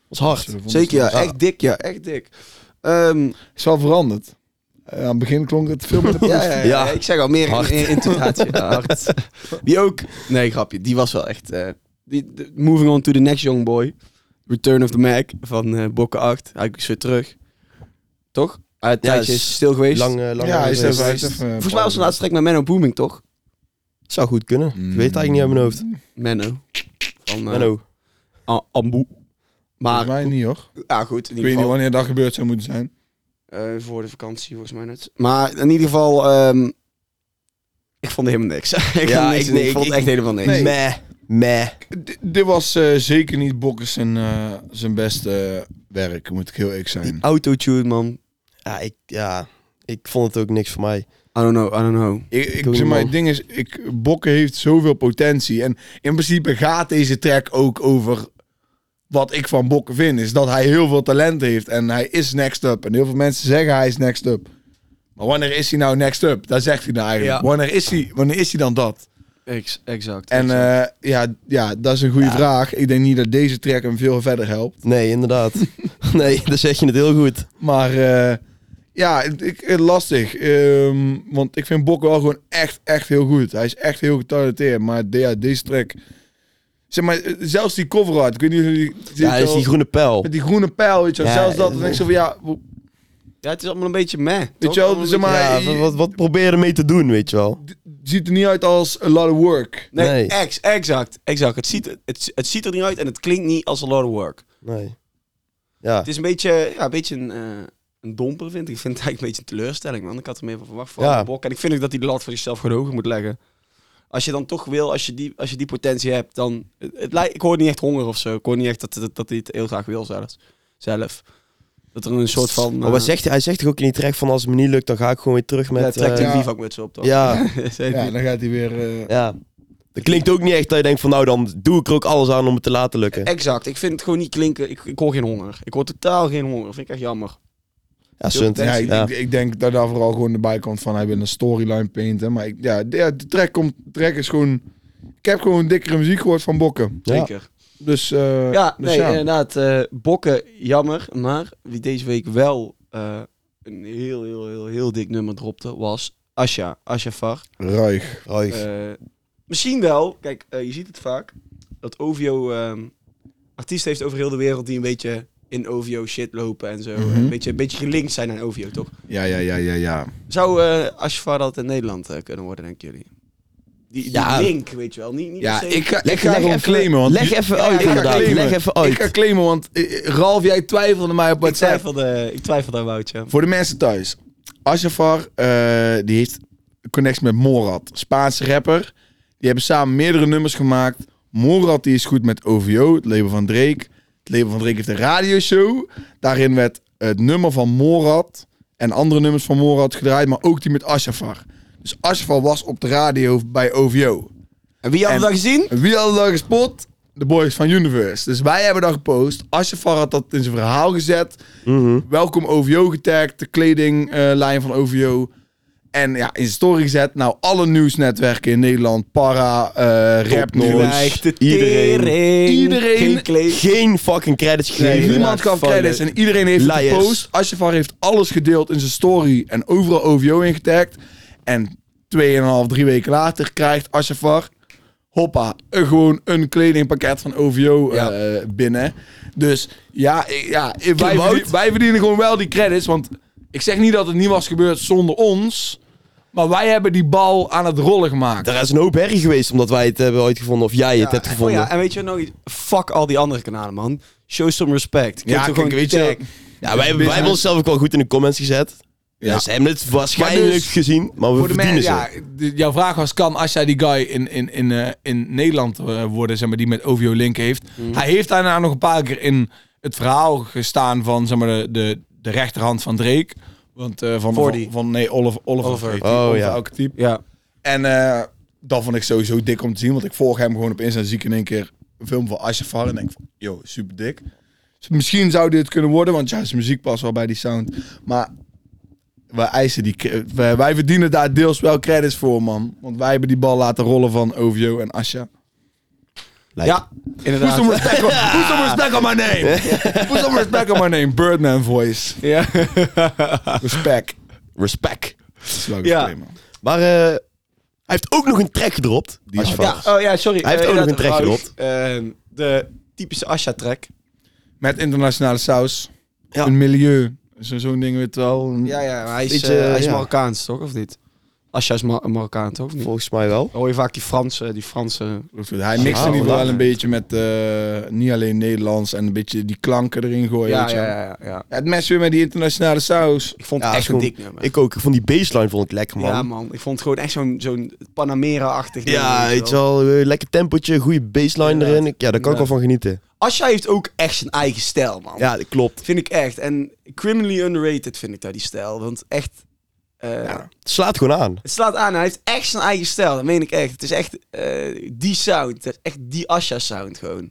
Speaker 3: was hard.
Speaker 1: Dus, eh, vond
Speaker 2: Zeker, ja.
Speaker 1: het wel-
Speaker 2: Echt dik, ja. Echt dik. Ehm,
Speaker 1: Is wel veranderd. Eh, aan het begin klonk het veel
Speaker 2: ja,
Speaker 1: meer...
Speaker 2: ja, ja,
Speaker 3: Ja.
Speaker 2: ik zeg al, meer in- in- intonatie. Ja, hard. Die ook... Nee, grapje. Die was wel echt... eh, die, de- moving on to the next young boy. Return of the Mac van eh Bokken 8. Hij is weer terug. Toch? Hij
Speaker 3: Ja,
Speaker 2: tijdje
Speaker 3: is
Speaker 2: is stil geweest.
Speaker 3: Lang, eh, lang
Speaker 1: Ja, hij is
Speaker 3: geweest.
Speaker 1: even... hij is even, eh,
Speaker 2: Volgens mij was de laatste trek met Menno Booming, toch?
Speaker 3: Zou goed kunnen. Ik weet het eigenlijk niet uit mijn
Speaker 1: Mm.
Speaker 3: hoofd.
Speaker 2: Menno. Van, eh,
Speaker 3: Menno.
Speaker 2: A- Ambu. Maar,
Speaker 1: Volgens mij niet, hoor.
Speaker 2: ja goed, in
Speaker 1: Ik
Speaker 2: ieder
Speaker 1: weet niet
Speaker 2: geval.
Speaker 1: wanneer dat gebeurd zou moeten zijn.
Speaker 2: eh, voor de vakantie volgens mij net. Maar in ieder geval, ehm, ik vond helemaal niks. ik,
Speaker 3: Ja,
Speaker 2: vond niks
Speaker 3: ik-
Speaker 2: ik,
Speaker 3: nee,
Speaker 2: ik vond
Speaker 3: ik-
Speaker 2: echt helemaal niks.
Speaker 1: Nee.
Speaker 3: Meh. Meh.
Speaker 1: D- dit was eh, zeker niet Bokkers zijn, eh, zijn beste werk, moet ik heel eerlijk zijn.
Speaker 2: Autotune, man.
Speaker 3: Ja ik, ja, ik vond het ook niks voor mij.
Speaker 2: I don't know, I don't know.
Speaker 1: Ik, ik,
Speaker 3: Doe
Speaker 1: zeg maar,
Speaker 3: normaal.
Speaker 1: het ding is, ik, Bokken heeft zoveel potentie. En in principe gaat deze track ook over wat ik van Bokken vind. Is dat hij heel veel talent heeft en hij is next up. En heel veel mensen zeggen hij is next up. Maar wanneer is hij nou next up? Daar zegt hij nou eigenlijk.
Speaker 2: Ja.
Speaker 1: Wanneer, is hij, wanneer is hij dan dat?
Speaker 2: Ex exact.
Speaker 1: En eh, ja, ja, dat is een goede vraag. Ik denk niet dat deze track hem veel verder helpt.
Speaker 3: Nee, inderdaad. nee, dan zeg je het heel goed.
Speaker 1: Maar eh, ja, ik, ik- lastig. Ehm, want ik vind Bok wel gewoon echt, echt heel goed. Hij is echt heel getalenteerd. Maar de- ja, deze track... Zeg maar, eh, zelfs die cover art. Ik weet niet of jullie...
Speaker 3: Ja, hij is die groene pijl.
Speaker 1: Met die groene pijl, weet je wel.
Speaker 3: Ja,
Speaker 1: zelfs dat. Dan
Speaker 3: eh,
Speaker 1: denk ik zo van, ja... Weet
Speaker 2: ja, het is allemaal een beetje meh. toch?
Speaker 1: je wel,
Speaker 2: Allemaal
Speaker 1: zeg
Speaker 2: een
Speaker 1: maar...
Speaker 3: Ja,
Speaker 1: je-
Speaker 3: wat, wat probeer je ermee te doen, weet je wel?
Speaker 1: d- ziet er niet uit als a lot of work.
Speaker 2: beetje- Nee,
Speaker 3: Nee.
Speaker 2: ex exact. exact. Het, ziet, er- het, het ziet er niet uit en het klinkt niet als a lot of work.
Speaker 3: Nee. Ja.
Speaker 2: Het is een beetje, ja, een, beetje een, eh, een domper, vind ik. Ik vind het eigenlijk een beetje een teleurstelling, man. Ik had er meer van verwacht van
Speaker 3: Ja.
Speaker 2: Bok. En ik vind ook dat hij de lat voor zichzelf gewoon hoger moet leggen. Als je dan toch wil, als je die, als je die potentie hebt, dan... Het, het lijkt, ik hoor niet echt honger of zo. Ik hoor niet echt dat, dat, dat hij het heel graag wil zelfs. Zelf. Dat er een soort van... eh,
Speaker 3: Maar wat zegt hij? Hij zegt toch ook in die track van als het me niet lukt, dan ga ik gewoon weer terug
Speaker 2: met,
Speaker 3: met...
Speaker 2: trekt
Speaker 3: eh,
Speaker 2: hij
Speaker 1: eh, ja.
Speaker 2: een bivakmuts op, toch?
Speaker 3: ja,
Speaker 1: Ja, dan gaat hij weer... eh,
Speaker 3: ja. Dat klinkt ook niet echt dat je denkt van nou, dan doe ik er ook alles aan om het te laten lukken.
Speaker 2: Exact. Ik vind het gewoon niet klinken. Ik, ik hoor geen honger. Ik hoor totaal geen honger. Vind ik echt jammer.
Speaker 3: Ja, sunt.
Speaker 1: Ja, ik,
Speaker 3: Ja.
Speaker 1: Ik, ik denk dat daar vooral gewoon erbij komt van hij wil een storyline painten. Maar ik, ja, de, ja, de track, komt, de track is gewoon... Ik heb gewoon dikkere muziek gehoord van Bokken.
Speaker 3: Ja.
Speaker 2: Zeker.
Speaker 1: Dus, eh,
Speaker 2: Ja,
Speaker 1: dus
Speaker 2: nee,
Speaker 1: ja.
Speaker 2: inderdaad. eh, bokken, jammer. Maar wie deze week wel eh, een heel, heel, heel, heel dik nummer dropte, was Asja. Asja Var.
Speaker 1: Ruig.
Speaker 3: Ruig.
Speaker 2: Eh, misschien wel, kijk, eh, je ziet het vaak, dat OVO ehm artiest heeft over heel de wereld die een beetje in OVO shit lopen en zo.
Speaker 1: Mhm.
Speaker 2: een, beetje, een beetje gelinkt zijn aan OVO, toch?
Speaker 1: Ja, ja, ja, ja, ja.
Speaker 2: Zou eh Asja Var dat in Nederland eh, kunnen worden, denken jullie? Die, die
Speaker 3: Ja.
Speaker 2: link, weet je wel. Niet, niet
Speaker 1: Ja,
Speaker 2: per se-
Speaker 1: ik ga, ik
Speaker 3: Leg-
Speaker 1: ga
Speaker 3: leg
Speaker 1: gewoon
Speaker 3: even-
Speaker 1: claimen. Want
Speaker 3: Leg even uit,
Speaker 1: ik ga
Speaker 3: inderdaad.
Speaker 1: claimen.
Speaker 3: Leg even
Speaker 1: Ik
Speaker 3: uit.
Speaker 1: ga claimen, want eh, Ralf, jij twijfelde mij op
Speaker 2: ik,
Speaker 1: WhatsApp.
Speaker 2: twijfelde, ik twijfelde aan Woutje.
Speaker 1: Voor de mensen thuis. Asjafar, eh, die heeft een connectie met Morad. Spaanse rapper. Die hebben samen meerdere nummers gemaakt. Morad die is goed met OVO, het label van Drake. Het label van Drake heeft een radioshow. Daarin werd het nummer van Morad en andere nummers van Morad gedraaid. Maar ook die met Asjafar. Dus Asjafar was op de radio bij OVO.
Speaker 2: En wie had
Speaker 1: En-
Speaker 2: dat gezien?
Speaker 1: En Wie hadden dat gespot? De boys van Universe. Dus wij hebben dat gepost. Asjafar had dat in zijn verhaal gezet.
Speaker 3: Mhm.
Speaker 1: Welkom OVO getagd, de kledinglijn van OVO. En ja, in zijn story gezet. Nou, alle nieuwsnetwerken in Nederland, para, eh rap
Speaker 2: Gelijk
Speaker 1: noise.
Speaker 2: de
Speaker 3: Iedereen.
Speaker 2: tering.
Speaker 1: Iedereen.
Speaker 2: Geen kleed.
Speaker 3: Geen fucking credits
Speaker 1: Nee,
Speaker 3: gegeven.
Speaker 1: niemand gaf
Speaker 3: Fuck.
Speaker 1: credits en iedereen heeft het
Speaker 3: Liars.
Speaker 1: gepost. Asjafar heeft alles gedeeld in zijn story en overal OVO in getagd. En 2,5, drie weken later krijgt Asjafar, hoppa, eh, gewoon een kledingpakket van OVO eh, binnen. Dus ja, eh, ja eh, wij,
Speaker 3: Wout.
Speaker 1: verdien- wij verdienen gewoon wel die credits. Want ik zeg niet dat het niet was gebeurd zonder ons. Maar wij hebben die bal aan het rollen gemaakt.
Speaker 3: Er is een hoop herrie geweest omdat wij het hebben uitgevonden. Of jij het hebt
Speaker 2: en-
Speaker 3: gevonden.
Speaker 2: Oh ja, en weet je nog iets? Fuck al die andere kanalen, man. Show some respect. Kijk
Speaker 1: Ja,
Speaker 2: toch
Speaker 1: kijk,
Speaker 2: gewoon
Speaker 1: weet je wel.
Speaker 2: tag.
Speaker 3: Ja, wij, hebben-
Speaker 1: Business.
Speaker 3: wij hebben onszelf ook wel goed in de comments gezet.
Speaker 1: Ja.
Speaker 3: Ja. Ze hebben het waarschijnlijk
Speaker 1: Maar dus-
Speaker 3: gezien, maar we
Speaker 1: Voor de
Speaker 3: verdienen
Speaker 1: mensen,
Speaker 3: ze.
Speaker 1: ja, de- jouw vraag was, kan Asja die guy in, in, in, eh, in Nederland eh, worden, zeg maar, die met OVO link heeft?
Speaker 3: Mhm.
Speaker 1: Hij heeft daarna nog een paar keer in het verhaal gestaan van, zeg maar, de, de, de rechterhand van Drake. Want eh, van,
Speaker 2: Voor die.
Speaker 1: van, van- nee, Oliver, Oliver,
Speaker 2: Oliver.
Speaker 1: heet hij,
Speaker 3: Oh,
Speaker 1: Oliver
Speaker 3: ja.
Speaker 1: elke type.
Speaker 2: Ja.
Speaker 1: En eh, dat vond ik sowieso dik om te zien. Want ik volg hem gewoon op Insta. Zie ik in één keer een film van Asjafar. En denk van, yo, super dik. Dus misschien zou dit kunnen worden. Want ja, zijn muziek past wel bij die sound. Maar wij eisen die... cre- Wij, wij verdienen daar deels wel credits voor, man. Want wij hebben die bal laten rollen van OVO en Asja.
Speaker 2: Ja,
Speaker 1: Put
Speaker 2: inderdaad.
Speaker 1: some respect on, put some respect on my name. Put some respect on my name. Birdman voice.
Speaker 2: Ja.
Speaker 1: Respect.
Speaker 3: Respect.
Speaker 2: Ja.
Speaker 1: Ja.
Speaker 3: Maar eh, hij heeft ook nog een track gedropt.
Speaker 1: Die
Speaker 3: Als
Speaker 1: is
Speaker 3: je
Speaker 1: vast.
Speaker 3: vast.
Speaker 2: Ja, oh ja, sorry.
Speaker 3: Hij heeft
Speaker 2: Eh,
Speaker 3: ook nog
Speaker 2: inderdaad,
Speaker 3: een track
Speaker 2: Rauw.
Speaker 3: gedropt.
Speaker 2: Ehm, de typische Asha-track.
Speaker 1: Met internationale saus.
Speaker 3: Ja.
Speaker 1: Een milieu. Zo- Zo'n ding weet wel.
Speaker 2: Ja, ja, maar hij is,
Speaker 3: Beetje,
Speaker 2: eh, hij is
Speaker 3: ja.
Speaker 2: Marokkaans, toch? Of niet? Asha is Ma- Marokkaan, toch? Of niet?
Speaker 3: Volgens mij wel.
Speaker 2: Dan hoor je vaak die Franse, die Franse...
Speaker 1: Hij mixt
Speaker 3: Ah,
Speaker 1: in ieder geval wel
Speaker 3: lachen.
Speaker 1: een beetje met eh, niet alleen Nederlands en een beetje die klanken erin gooien.
Speaker 2: Ja,
Speaker 1: weet je
Speaker 2: ja,
Speaker 1: wel.
Speaker 2: ja, ja, ja.
Speaker 1: Ja, Het mes weer met die internationale saus.
Speaker 2: Ik vond
Speaker 3: Ja,
Speaker 2: het echt
Speaker 3: is goed.
Speaker 2: een dik nummer.
Speaker 3: Ik ook. Ik vond die baseline vond ik lekker, man.
Speaker 2: Ja, man. Ik vond het gewoon echt zo'n zo'n Panamera-achtig
Speaker 3: Ja,
Speaker 2: nummer,
Speaker 3: weet je wel. eh, lekker tempootje, goede baseline
Speaker 2: Inderdaad.
Speaker 3: erin. Ik- Ja, daar kan ik wel van genieten.
Speaker 2: Asha heeft ook echt zijn eigen stijl, man.
Speaker 3: Ja, dat klopt.
Speaker 2: Vind ik echt. En criminally underrated vind ik daar die stijl. Want echt... eh,
Speaker 3: Het slaat gewoon aan.
Speaker 2: Het slaat aan. Hij heeft echt zijn eigen stijl. Dat meen ik echt. Het is echt eh, die sound. Het is echt die Asha sound gewoon.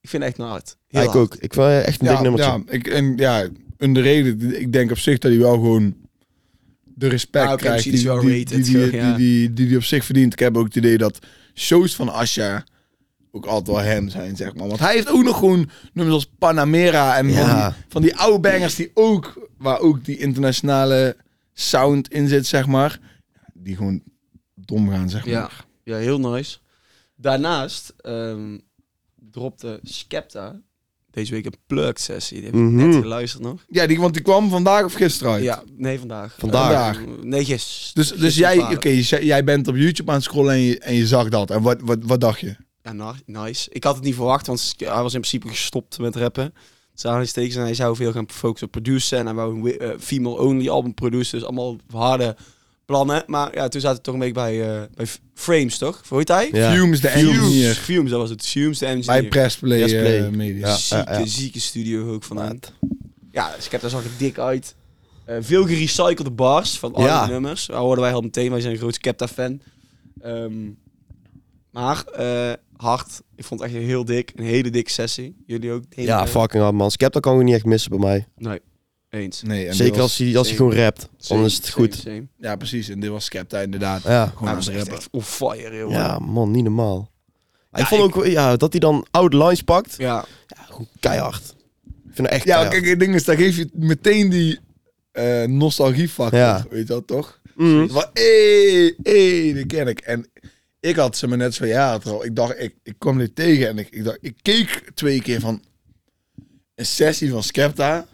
Speaker 2: Ik vind het echt een hard. Heel
Speaker 3: Ja, ik
Speaker 2: hard.
Speaker 3: ook. Ik vond eh, echt een dik nummertje.
Speaker 1: ja, ik, en ja, underrated. Ik denk op zich dat hij wel gewoon de respect
Speaker 2: Ja, oké,
Speaker 1: krijgt
Speaker 2: misschien is hij wel
Speaker 1: die, die,
Speaker 2: rated,
Speaker 1: die, die,
Speaker 2: zo, ja.
Speaker 1: die- die die op zich verdient. Ik heb ook het idee dat shows van Asja ook altijd wel hem zijn, zeg maar. Want hij heeft ook nog gewoon nummers als Panamera en van,
Speaker 3: Ja.
Speaker 1: die, van die oude bangers die ook, waar ook die internationale sound in zit, zeg maar. Die gewoon dom gaan, zeg maar.
Speaker 2: Ja. ja, heel nice. Daarnaast ehm, dropte Skepta deze week een plug sessie. Die heb ik
Speaker 3: Mhm.
Speaker 2: net geluisterd nog.
Speaker 1: Ja, die, want die kwam vandaag of gisteren uit?
Speaker 2: Ja, nee, vandaag.
Speaker 3: Vandaag.
Speaker 2: Ehm, nee, gisteren.
Speaker 1: Dus, dus
Speaker 2: Gisteren
Speaker 1: jij,
Speaker 2: om 12.
Speaker 1: oké, dus jij- jij bent op YouTube aan het scrollen en je, en je zag dat. En wat, wat, wat dacht je?
Speaker 2: Ja, na- nice. Ik had het niet verwacht, want hij was in principe gestopt met rappen. Dus aanhalingstekens, en hij zou veel gaan focussen op produceren. En hij wou een wi- eh, female-only album produceren. Dus allemaal harde plannen. Maar ja, toen zaten we toch een beetje bij, eh, bij F- Frames, toch? Hoe heet hij?
Speaker 3: Ja.
Speaker 1: Fumes, de
Speaker 2: Fumes.
Speaker 1: engineer.
Speaker 2: Fumes, dat was het. Fumes, de engineer.
Speaker 1: Bij Pressplay,
Speaker 3: Yes, Play.
Speaker 1: eh, Media.
Speaker 3: Ja,
Speaker 2: zieke,
Speaker 3: ja, ja.
Speaker 2: zieke studio ook van aan. Ja, dus ik heb daar zag het dik uit. Eh, veel gerecyclede bars van alle
Speaker 3: Ja.
Speaker 2: nummers. Daar hoorden wij al meteen. Wij zijn een groot Skepta-fan. Ehm, maar eh, hard. Ik vond het echt heel dik. Een hele dikke sessie. Jullie ook? Hele-
Speaker 3: Ja, fucking hard, man. Skepta kan gewoon niet echt missen bij mij.
Speaker 2: Nee, eens.
Speaker 1: Nee, en dit
Speaker 3: Zeker
Speaker 1: was-
Speaker 3: als hij, als hij gewoon rapt. Dan is het goed.
Speaker 2: Same, same.
Speaker 1: Ja, precies. En dit was Skepta inderdaad.
Speaker 3: Ja.
Speaker 1: Gewoon
Speaker 2: Hij
Speaker 1: aan
Speaker 2: was
Speaker 1: het
Speaker 2: echt,
Speaker 1: rappen.
Speaker 2: echt on fire, heel
Speaker 3: Ja, man, niet normaal.
Speaker 2: Ja,
Speaker 3: ik vond ook ja, dat hij dan oude lines pakt.
Speaker 2: Ja,
Speaker 3: Gewoon keihard. Ik vind het echt
Speaker 1: Ja,
Speaker 3: keihard.
Speaker 1: kijk, het ding is, daar geef je meteen die eh nostalgiefactor.
Speaker 3: Ja.
Speaker 1: Weet je dat toch?
Speaker 3: Mm.
Speaker 1: Van, hé, hé, die ken ik. En ik had ze me net zo ja, al. Ik dacht, ik, ik kwam dit tegen en ik, ik, dacht, ik keek twee keer van een sessie van Skepta.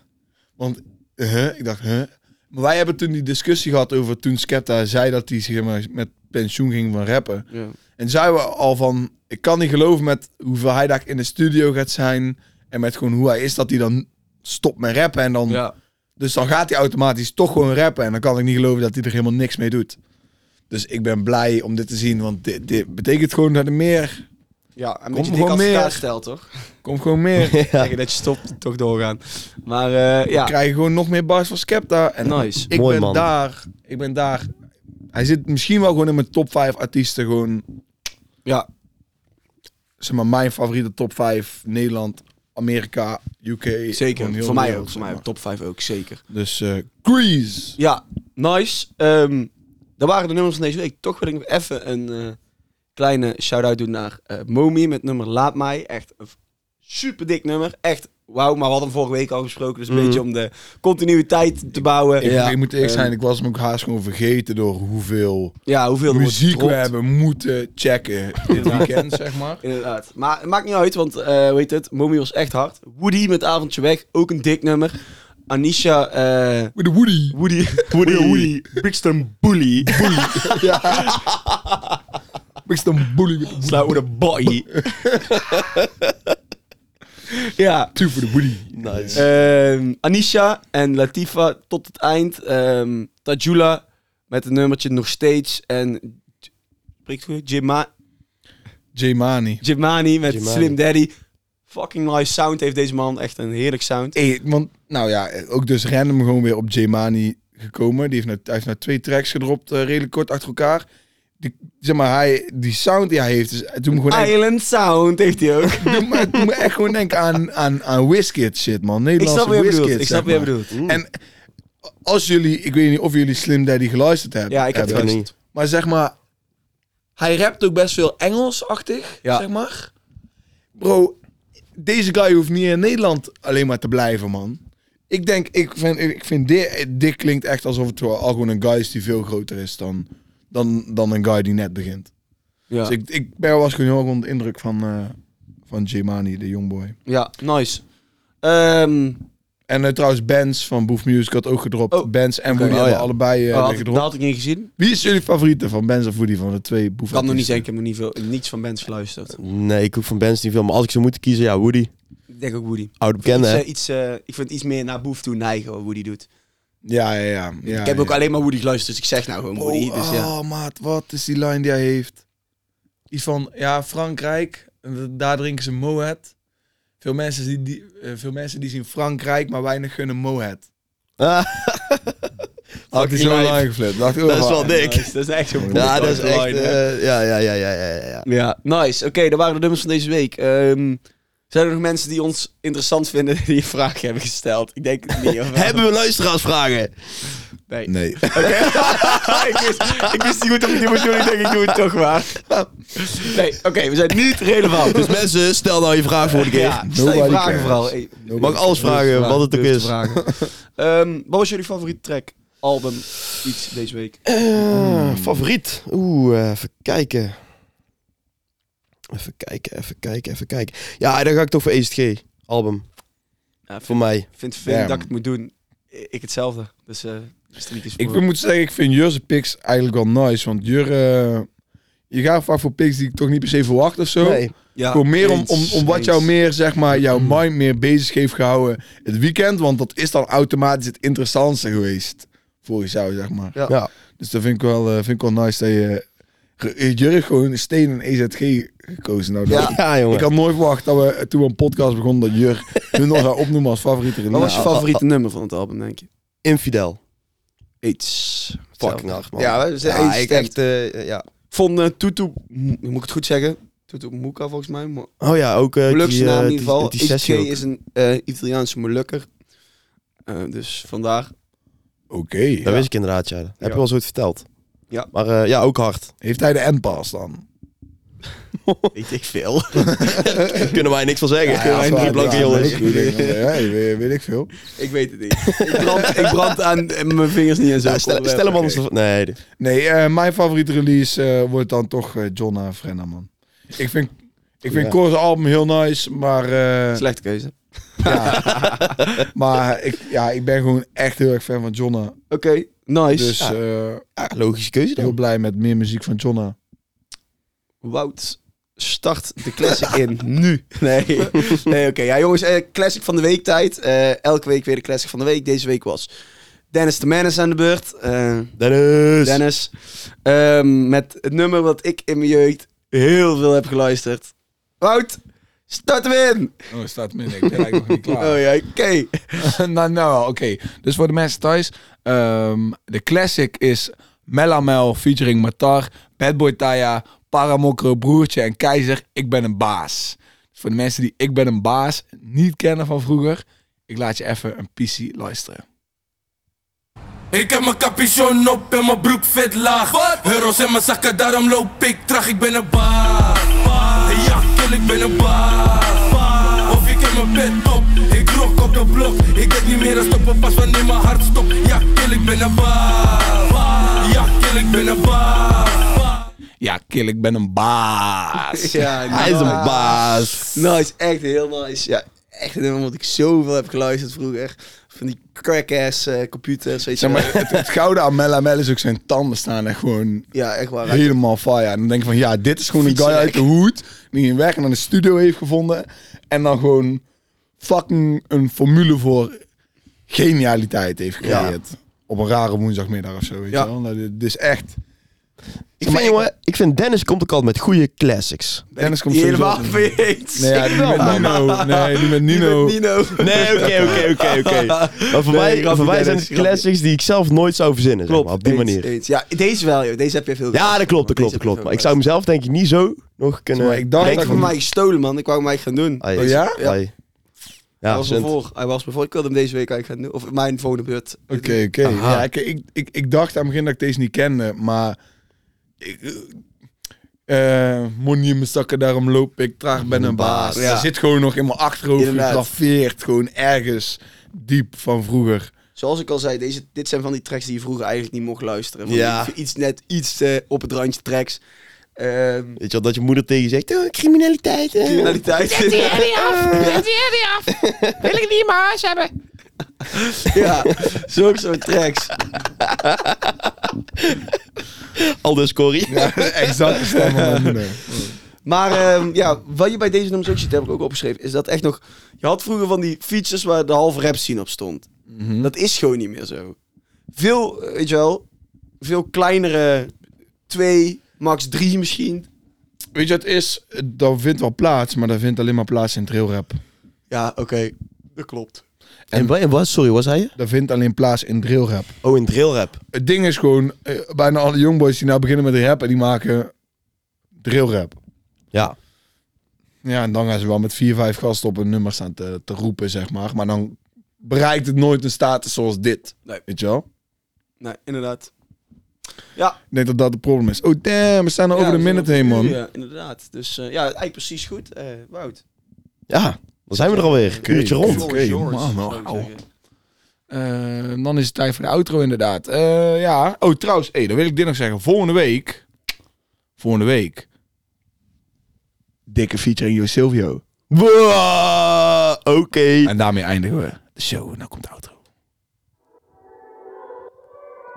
Speaker 1: Want, huh, ik dacht, huh. Maar wij hebben toen die discussie gehad over toen Skepta zei dat hij zeg maar, met pensioen ging van rappen.
Speaker 2: ja.
Speaker 1: En zeiden we al van, ik kan niet geloven met hoeveel hij daar in de studio gaat zijn. En met gewoon hoe hij is, dat hij dan stopt met rappen. En dan,
Speaker 2: ja.
Speaker 1: Dus dan gaat hij automatisch toch gewoon rappen. En dan kan ik niet geloven dat hij er helemaal niks mee doet. Dus ik ben blij om dit te zien. Want dit, dit betekent gewoon dat er meer...
Speaker 2: ja. Een
Speaker 1: Kom
Speaker 2: beetje dik
Speaker 1: gewoon
Speaker 2: als
Speaker 1: meer.
Speaker 2: elkaar stelt, toch?
Speaker 1: Komt gewoon meer.
Speaker 3: Ja.
Speaker 2: Zeggen dat je stopt, toch doorgaan. Maar eh, ja,
Speaker 1: We krijgen gewoon nog meer bars van Skepta. En
Speaker 2: nice.
Speaker 1: ik
Speaker 3: Mooi,
Speaker 1: ben
Speaker 3: man.
Speaker 1: daar. Ik ben daar. Hij zit misschien wel gewoon in mijn top 5 artiesten. Gewoon,
Speaker 2: Ja,
Speaker 1: zeg maar, mijn favoriete top 5. Nederland, Amerika, UK. Gewoon
Speaker 2: zeker.
Speaker 1: heel
Speaker 2: Voor mij
Speaker 1: wereld,
Speaker 2: ook. Voor
Speaker 1: zeg
Speaker 2: mij
Speaker 1: maar.
Speaker 2: ook. Top 5 ook, zeker.
Speaker 1: Dus eh Grease.
Speaker 2: Ja, nice. Ehm dat waren de nummers van deze week. Toch wil ik nog even een eh, kleine shout-out doen naar eh, Momi met nummer Laat Mij. Echt een super dik nummer. Echt wauw, maar we hadden hem vorige week al gesproken. Dus een beetje om de continuïteit te bouwen.
Speaker 1: Mhm. Ik,
Speaker 2: ja.
Speaker 1: ik moet eerlijk
Speaker 2: Ehm,
Speaker 1: zijn, ik was me ook haast gewoon vergeten door hoeveel
Speaker 2: ja, hoeveel er wordt
Speaker 1: muziek we
Speaker 2: gedropt.
Speaker 1: hebben moeten checken dit weekend, zeg maar.
Speaker 2: Inderdaad. Maar het maakt niet uit, want eh weet het, Momi was echt hard. Woody met Avondje Weg, ook een dik nummer. Anisha, eh,
Speaker 1: With the Woody.
Speaker 2: Woody, Woody, Woody, Brixton Bully.
Speaker 1: Brixton Bully with the Woody.
Speaker 2: Sla de boy. ja.
Speaker 1: Two for the Woody.
Speaker 3: Nice.
Speaker 2: Ehm, Anisha en Latifa tot het eind. Ehm Tajula met het nummertje nog steeds. En spreekt goed, Jima-
Speaker 1: J-Mani.
Speaker 2: Jimani met
Speaker 3: Jimani.
Speaker 2: Slim Daddy. Fucking nice sound heeft deze man. Echt een heerlijk sound.
Speaker 1: Hey, want, nou ja, ook dus random gewoon weer op J-Mani gekomen. Die heeft nou, hij heeft nou twee tracks gedropt, eh, redelijk kort achter elkaar. Die, zeg maar, hij, die sound die hij heeft, dus, het doet me
Speaker 2: Ah,
Speaker 1: gewoon echt,
Speaker 2: Island Sound heeft hij ook.
Speaker 1: het doet me, het doet me echt gewoon denken aan, aan, aan Wizkid shit, man.
Speaker 2: ik
Speaker 1: Nederlandse
Speaker 2: snap wat je
Speaker 1: Wizkid,
Speaker 2: bedoelt. Ik
Speaker 1: zeg
Speaker 2: snap wat je
Speaker 1: maar.
Speaker 2: bedoelt.
Speaker 1: En als jullie, ik weet niet of jullie Slim Daddy geluisterd hebben.
Speaker 2: Ja, ik heb het
Speaker 1: hebben.
Speaker 3: niet.
Speaker 2: geluisterd.
Speaker 1: Maar zeg maar, hij rapt ook best veel Engels-achtig,
Speaker 2: Ja.
Speaker 1: zeg maar. Bro, deze guy hoeft niet in Nederland alleen maar te blijven, man. Ik denk, ik vind, ik vind dit, dit klinkt echt alsof het wel al gewoon een guy is die veel groter is dan, dan, dan een guy die net begint.
Speaker 2: Ja.
Speaker 1: Dus ik, ik ben, was gewoon heel erg onder de indruk van, eh van Jimani, de jongboy.
Speaker 2: ja, nice. Ehm
Speaker 1: En eh, trouwens, Bands van Boef Music had ook gedropt.
Speaker 2: Oh.
Speaker 1: Bands en Woody
Speaker 2: oh
Speaker 1: hebben
Speaker 2: ja.
Speaker 1: allebei eh,
Speaker 2: dat had, ik-
Speaker 1: gedropt.
Speaker 2: dat had ik niet gezien.
Speaker 1: Wie is jullie favoriete van Bands of Woody van de twee Boef?
Speaker 2: Ik kan nog niet
Speaker 1: artiesten?
Speaker 2: zeggen, ik heb nog niet veel, niets van bands geluisterd.
Speaker 3: Nee, ik hoef van bands niet veel. Maar als ik zou moeten kiezen, ja, Woody.
Speaker 2: Ik denk ook Woody.
Speaker 3: Oude
Speaker 2: Iets,
Speaker 3: bekende, hè?
Speaker 2: eh, iets, eh, ik vind iets meer naar Boef toe neigen wat Woody doet.
Speaker 1: Ja, ja, ja. ja
Speaker 2: ik heb ook
Speaker 1: ja.
Speaker 2: alleen maar Woody geluisterd, dus ik zeg nou gewoon Woody.
Speaker 1: Oh,
Speaker 2: dus ja.
Speaker 1: oh, maat, wat is die line die hij heeft? Iets van, ja, Frankrijk, en d- daar drinken ze Moët. Veel mensen, die, die, eh, veel mensen die zien Frankrijk, maar weinig gunnen Moët. Had hij
Speaker 3: Fucking
Speaker 1: zo
Speaker 3: lijp.
Speaker 1: lang geflipt. Dacht, oh,
Speaker 3: Dat is wel
Speaker 1: wat.
Speaker 3: dik.
Speaker 2: Nice, dat is echt zo'n
Speaker 3: Ja, dat is
Speaker 2: boefline,
Speaker 3: echt...
Speaker 2: hè?
Speaker 3: eh, ja, ja, ja, ja, ja, ja, ja.
Speaker 2: Ja, nice. Oké, dat waren de nummers van deze week. Ehm, zijn er nog mensen die ons interessant vinden die een vraag hebben gesteld? Ik denk het niet. of wel?
Speaker 3: Hebben we luisteraarsvragen?
Speaker 2: Nee.
Speaker 1: Nee.
Speaker 2: Oké. ik, wist, ik wist niet goed of ik die moest doen. Ik denk, ik doe het toch maar. Nee, oké, we zijn niet relevant.
Speaker 3: Dus mensen, stel nou je vraag voor de keer.
Speaker 2: ja, stel je
Speaker 1: Nobody
Speaker 2: vragen
Speaker 1: cares.
Speaker 2: vooral. Hey,
Speaker 3: Mag ik alles vragen, wat het
Speaker 2: durf
Speaker 3: ook
Speaker 2: te
Speaker 3: is?
Speaker 2: vragen. Ehm, wat was jullie favoriete track, album, iets deze week?
Speaker 3: Eh, favoriet? Oeh, eh, even kijken. Even kijken, even kijken, even kijken. Ja, dan ga ik toch voor ESG album.
Speaker 2: Ja,
Speaker 3: Voor mij.
Speaker 2: vind vind
Speaker 1: Damn.
Speaker 2: dat ik het moet doen. I- Ik hetzelfde. Dus eh street is
Speaker 1: Ik
Speaker 2: voor.
Speaker 1: moet zeggen, ik vind Jurse picks eigenlijk wel nice. Want Jurre, eh, je gaat vaak voor picks die ik toch niet per se verwacht of zo.
Speaker 3: Nee.
Speaker 2: Ja,
Speaker 1: Gewoon meer om, om,
Speaker 2: eens,
Speaker 1: om wat
Speaker 2: eens.
Speaker 1: jou meer, zeg maar, jouw
Speaker 3: Mm.
Speaker 1: mind meer bezig heeft gehouden het weekend. Want dat is dan automatisch het interessantste geweest voor jou, zeg maar.
Speaker 2: Ja.
Speaker 3: Ja.
Speaker 1: Dus dat vind ik wel, eh, vind ik wel nice dat je eh, Jurk gewoon Steen en EZG gekozen. Nou, dat-
Speaker 3: Ja, jongen.
Speaker 1: Ik had nooit verwacht dat we, toen we een podcast begonnen, dat Jurk hun nog zou opnoemen als favoriete
Speaker 2: Wat was
Speaker 1: release.
Speaker 2: je favoriete nummer van het album, denk je?
Speaker 3: Infidel.
Speaker 2: Iets.
Speaker 3: Fucking hard, nou, man.
Speaker 2: Ja, we zijn
Speaker 3: Ja,
Speaker 2: eens
Speaker 3: ik
Speaker 2: stemt.
Speaker 3: echt... eh, ja.
Speaker 2: Vond eh, Tutu, m- moet ik het goed zeggen? Tutu Muka volgens mij. Mo-
Speaker 3: Oh ja, ook eh,
Speaker 2: Molukse
Speaker 3: die, eh,
Speaker 2: naam in
Speaker 3: die,
Speaker 2: ieder geval.
Speaker 3: die
Speaker 2: HK
Speaker 3: sessie ook.
Speaker 2: is een eh, Italiaanse Molukker. Eh, dus vandaar.
Speaker 1: Oké.
Speaker 3: Dat wist ik inderdaad, ja. Dat Heb je wel eens ooit verteld.
Speaker 2: Ja.
Speaker 3: Maar eh, ja, ook hard.
Speaker 1: Heeft hij de endpass dan?
Speaker 3: Ik denk veel. kunnen wij niks van zeggen.
Speaker 1: Ja,
Speaker 3: kunnen wij
Speaker 1: dat is
Speaker 3: drie
Speaker 1: waar,
Speaker 3: blanke
Speaker 1: ja,
Speaker 3: jongens.
Speaker 1: dat is goed, denk ik. Ja, weet, weet ik veel.
Speaker 2: Ik weet het niet. ik, brand, ik brand aan eh, mijn vingers niet en zo.
Speaker 3: Ja, stel, stel hem anders... Nee, dit-
Speaker 1: Nee, eh, mijn favoriete release eh, wordt dan toch eh, Jonna Frenna, man. Ik vind, ik vind
Speaker 3: Ja.
Speaker 1: Core's album heel nice, maar, eh,
Speaker 2: Slechte keuze.
Speaker 1: ja. maar ik, ja, ik ben gewoon echt heel erg fan van Jonna.
Speaker 2: Oké, nice.
Speaker 1: Dus
Speaker 2: Ja.
Speaker 1: eh,
Speaker 3: ja, logische keuze
Speaker 1: heel
Speaker 3: dan.
Speaker 1: blij met meer muziek van Jonna.
Speaker 2: Wout, start de classic in. Nu. Nee, nee oké. Ja, jongens, eh, classic van de week tijd. Eh, elke week weer de classic van de week. Deze week was Dennis de Man is aan de beurt. Eh,
Speaker 3: Dennis!
Speaker 2: Dennis. Ehm, met het nummer wat ik in mijn jeugd heel veel heb geluisterd. Wout, start hem in!
Speaker 1: Oh, staat min. Ik ben eigenlijk nog niet
Speaker 3: Ah.
Speaker 2: Oh ja, oké.
Speaker 1: nou, nou oké. Dus voor de mensen thuis. ehm, de classic is Melamel featuring Matar, Bad Boy Taya, Paramokro Broertje en Keizer. Ik ben een baas. Dus voor de mensen die Ik ben een baas niet kennen van vroeger. Ik laat je even een PC luisteren.
Speaker 5: Ik heb mijn capuchon op en mijn broek vet laag. Euro's in mijn zakken, daarom loop ik traag. Ik ben een baas. Ja, kill, ik ben een baas. Of ik heb mijn bed op, ik rock op de blok. Ik heb niet meer een stoppen, pas wanneer mijn hart stopt. Ja, kill, ik ben een baas. Ja, kill, ik ben een baas.
Speaker 1: Ja, kill, ik ben een baas.
Speaker 2: Ja,
Speaker 3: Ah, Hij is een baas.
Speaker 2: Nice, echt heel nice. Ja, echt een nummer wat ik zoveel heb geluisterd vroeger. Van die crack-ass eh, computers, weet je
Speaker 1: Zeg maar, het, het gouden aan Melamel is ook zijn tanden staan en gewoon
Speaker 2: Ja, echt waar.
Speaker 1: helemaal fire. En dan denk je van, ja, dit is gewoon een guy uit de hoed die een weg naar de studio heeft gevonden. En dan gewoon fucking een formule voor genialiteit heeft gecreëerd. Op een rare woensdagmiddag of zo, weet
Speaker 2: Ja.
Speaker 1: je wel. Nou, dit, dit is echt
Speaker 3: Ik vind, jongen, ik vind Dennis komt ook altijd met goede classics.
Speaker 1: Dennis komt
Speaker 2: Die
Speaker 1: sowieso
Speaker 2: helemaal
Speaker 1: op-
Speaker 2: mee eens.
Speaker 1: Nee, ja,
Speaker 2: Ik
Speaker 1: die
Speaker 2: wel,
Speaker 1: met
Speaker 2: man.
Speaker 1: Nino. Nee, die met
Speaker 2: Die met
Speaker 1: Nino.
Speaker 2: Nino.
Speaker 3: Nee, oké, oké, oké, oké. Maar voor
Speaker 2: Nee,
Speaker 3: mij,
Speaker 2: grapje,
Speaker 3: voor mij
Speaker 2: Dennis,
Speaker 3: zijn het
Speaker 2: grapje.
Speaker 3: classics die ik zelf nooit zou verzinnen, zeg maar, op die
Speaker 2: Eens,
Speaker 3: manier.
Speaker 2: eens. Ja, deze wel, joh. Deze heb je veel
Speaker 3: Ja, dat klopt, dat klopt,
Speaker 2: Deze heb
Speaker 3: dat
Speaker 2: je
Speaker 3: klopt.
Speaker 2: veel
Speaker 3: Maar ik zou hem
Speaker 2: geluisterd.
Speaker 3: zelf denk ik niet zo nog kunnen...
Speaker 1: Maar ik dacht
Speaker 2: Hij
Speaker 1: dat
Speaker 2: heeft
Speaker 1: ik
Speaker 2: van
Speaker 1: hem-
Speaker 2: mij gestolen, man. Ik wou hem eigenlijk gaan doen.
Speaker 3: Ai,
Speaker 1: Oh ja?
Speaker 3: ai. Ah, Ja,
Speaker 2: hij was me
Speaker 3: zint.
Speaker 2: voor. Hij was me voor. Ik wilde hem deze week eigenlijk gaan doen. Of mijn volgende beurt.
Speaker 1: Oké, oké.
Speaker 3: Aha.
Speaker 1: Ja, ik, ik, ik, ik dacht aan het begin dat ik deze niet kende, maar... Ik, eh, Money in mijn zakken, daarom loop ik traag ben een baas.
Speaker 2: Ja.
Speaker 1: Dat zit gewoon nog in mijn achterhoofd
Speaker 2: Inderdaad.
Speaker 1: gegraveerd. Gewoon ergens diep van vroeger.
Speaker 2: Zoals ik al zei, deze, dit zijn van die tracks die je vroeger eigenlijk niet mocht luisteren. Van
Speaker 3: Ja.
Speaker 2: die Iets net, iets eh, op het randje tracks. Ehm
Speaker 3: Weet je wel, dat je moeder tegen je zegt, oh, criminaliteit. eh.
Speaker 2: criminaliteit.
Speaker 6: Zet die herrie af! Zet die herrie af! Wil ik niet in mijn huis hebben!
Speaker 2: ja, zulke soort tracks.
Speaker 3: Al dus Corrie.
Speaker 1: Ja, exact de stem van mijn moeder.
Speaker 2: Maar ehm, ja, wat je bij deze nummers ook ziet, heb ik ook opgeschreven, is dat echt nog... Je had vroeger van die features waar de halve rap scene op stond.
Speaker 1: Mhm.
Speaker 2: Dat is gewoon niet meer zo. Veel, eh, weet je wel, veel kleinere twee, max drie misschien.
Speaker 1: Weet je wat het is? Dat vindt wel plaats, maar dat vindt alleen maar plaats in trailrap.
Speaker 2: Ja, oké. Dat klopt.
Speaker 3: En, wa- en wat, sorry, was hij er?
Speaker 1: Dat vindt alleen plaats in trailrap.
Speaker 3: Oh, in drillrap.
Speaker 1: Het ding is gewoon, eh, bijna alle jongboys die nou beginnen met rap en die maken drillrap.
Speaker 3: Ja.
Speaker 1: Ja, en dan gaan ze wel met vier, vijf gasten op een nummer staan te, te roepen, zeg maar. Maar dan bereikt het nooit een status zoals dit.
Speaker 2: Nee.
Speaker 1: Weet je wel?
Speaker 2: Nee, inderdaad. Ja.
Speaker 1: Ik denk dat dat het probleem is. Oh damn, we staan er
Speaker 2: ja,
Speaker 1: over
Speaker 2: we
Speaker 1: de
Speaker 2: zijn
Speaker 1: minute
Speaker 2: op
Speaker 1: heen,
Speaker 2: een
Speaker 1: man.
Speaker 2: uur, Ja, inderdaad. Dus eh, ja, eigenlijk precies goed. eh, Wout.
Speaker 3: Ja, dan zijn we er alweer.
Speaker 1: Oké,
Speaker 3: Uurtje rond.
Speaker 1: oké,
Speaker 2: Floor is yours,
Speaker 1: man,
Speaker 2: zou ik
Speaker 1: wauw.
Speaker 2: zeggen.
Speaker 1: Eh, dan is het tijd voor de outro, inderdaad. Eh, ja. Oh, trouwens, hey, dan wil ik dit nog zeggen. Volgende week. Volgende week. Dikke featuring Jo Silvio.
Speaker 3: Wow, Ah, Oké.
Speaker 1: En daarmee eindigen we de show. En dan komt de outro.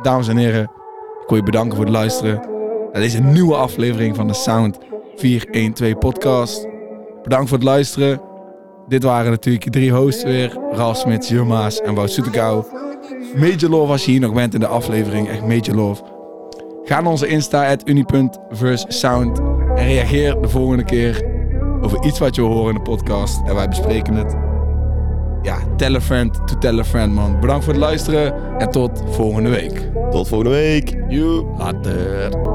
Speaker 1: Dames en heren, ik wil je bedanken voor het luisteren naar deze nieuwe aflevering van de Sound 412 podcast. Bedankt voor het luisteren. Dit waren natuurlijk je drie hosts weer. Ralf Smits, Jurmaas en Wout Soetekau. Major Love als je hier nog bent in de aflevering. Echt Major Love. Ga naar onze Insta, at uni.versound. En reageer de volgende keer over iets wat je wil horen in de podcast. En wij bespreken het. Ja, tell a friend to tell a friend, man. Bedankt voor het luisteren en tot volgende week.
Speaker 3: Tot volgende week.
Speaker 1: Later.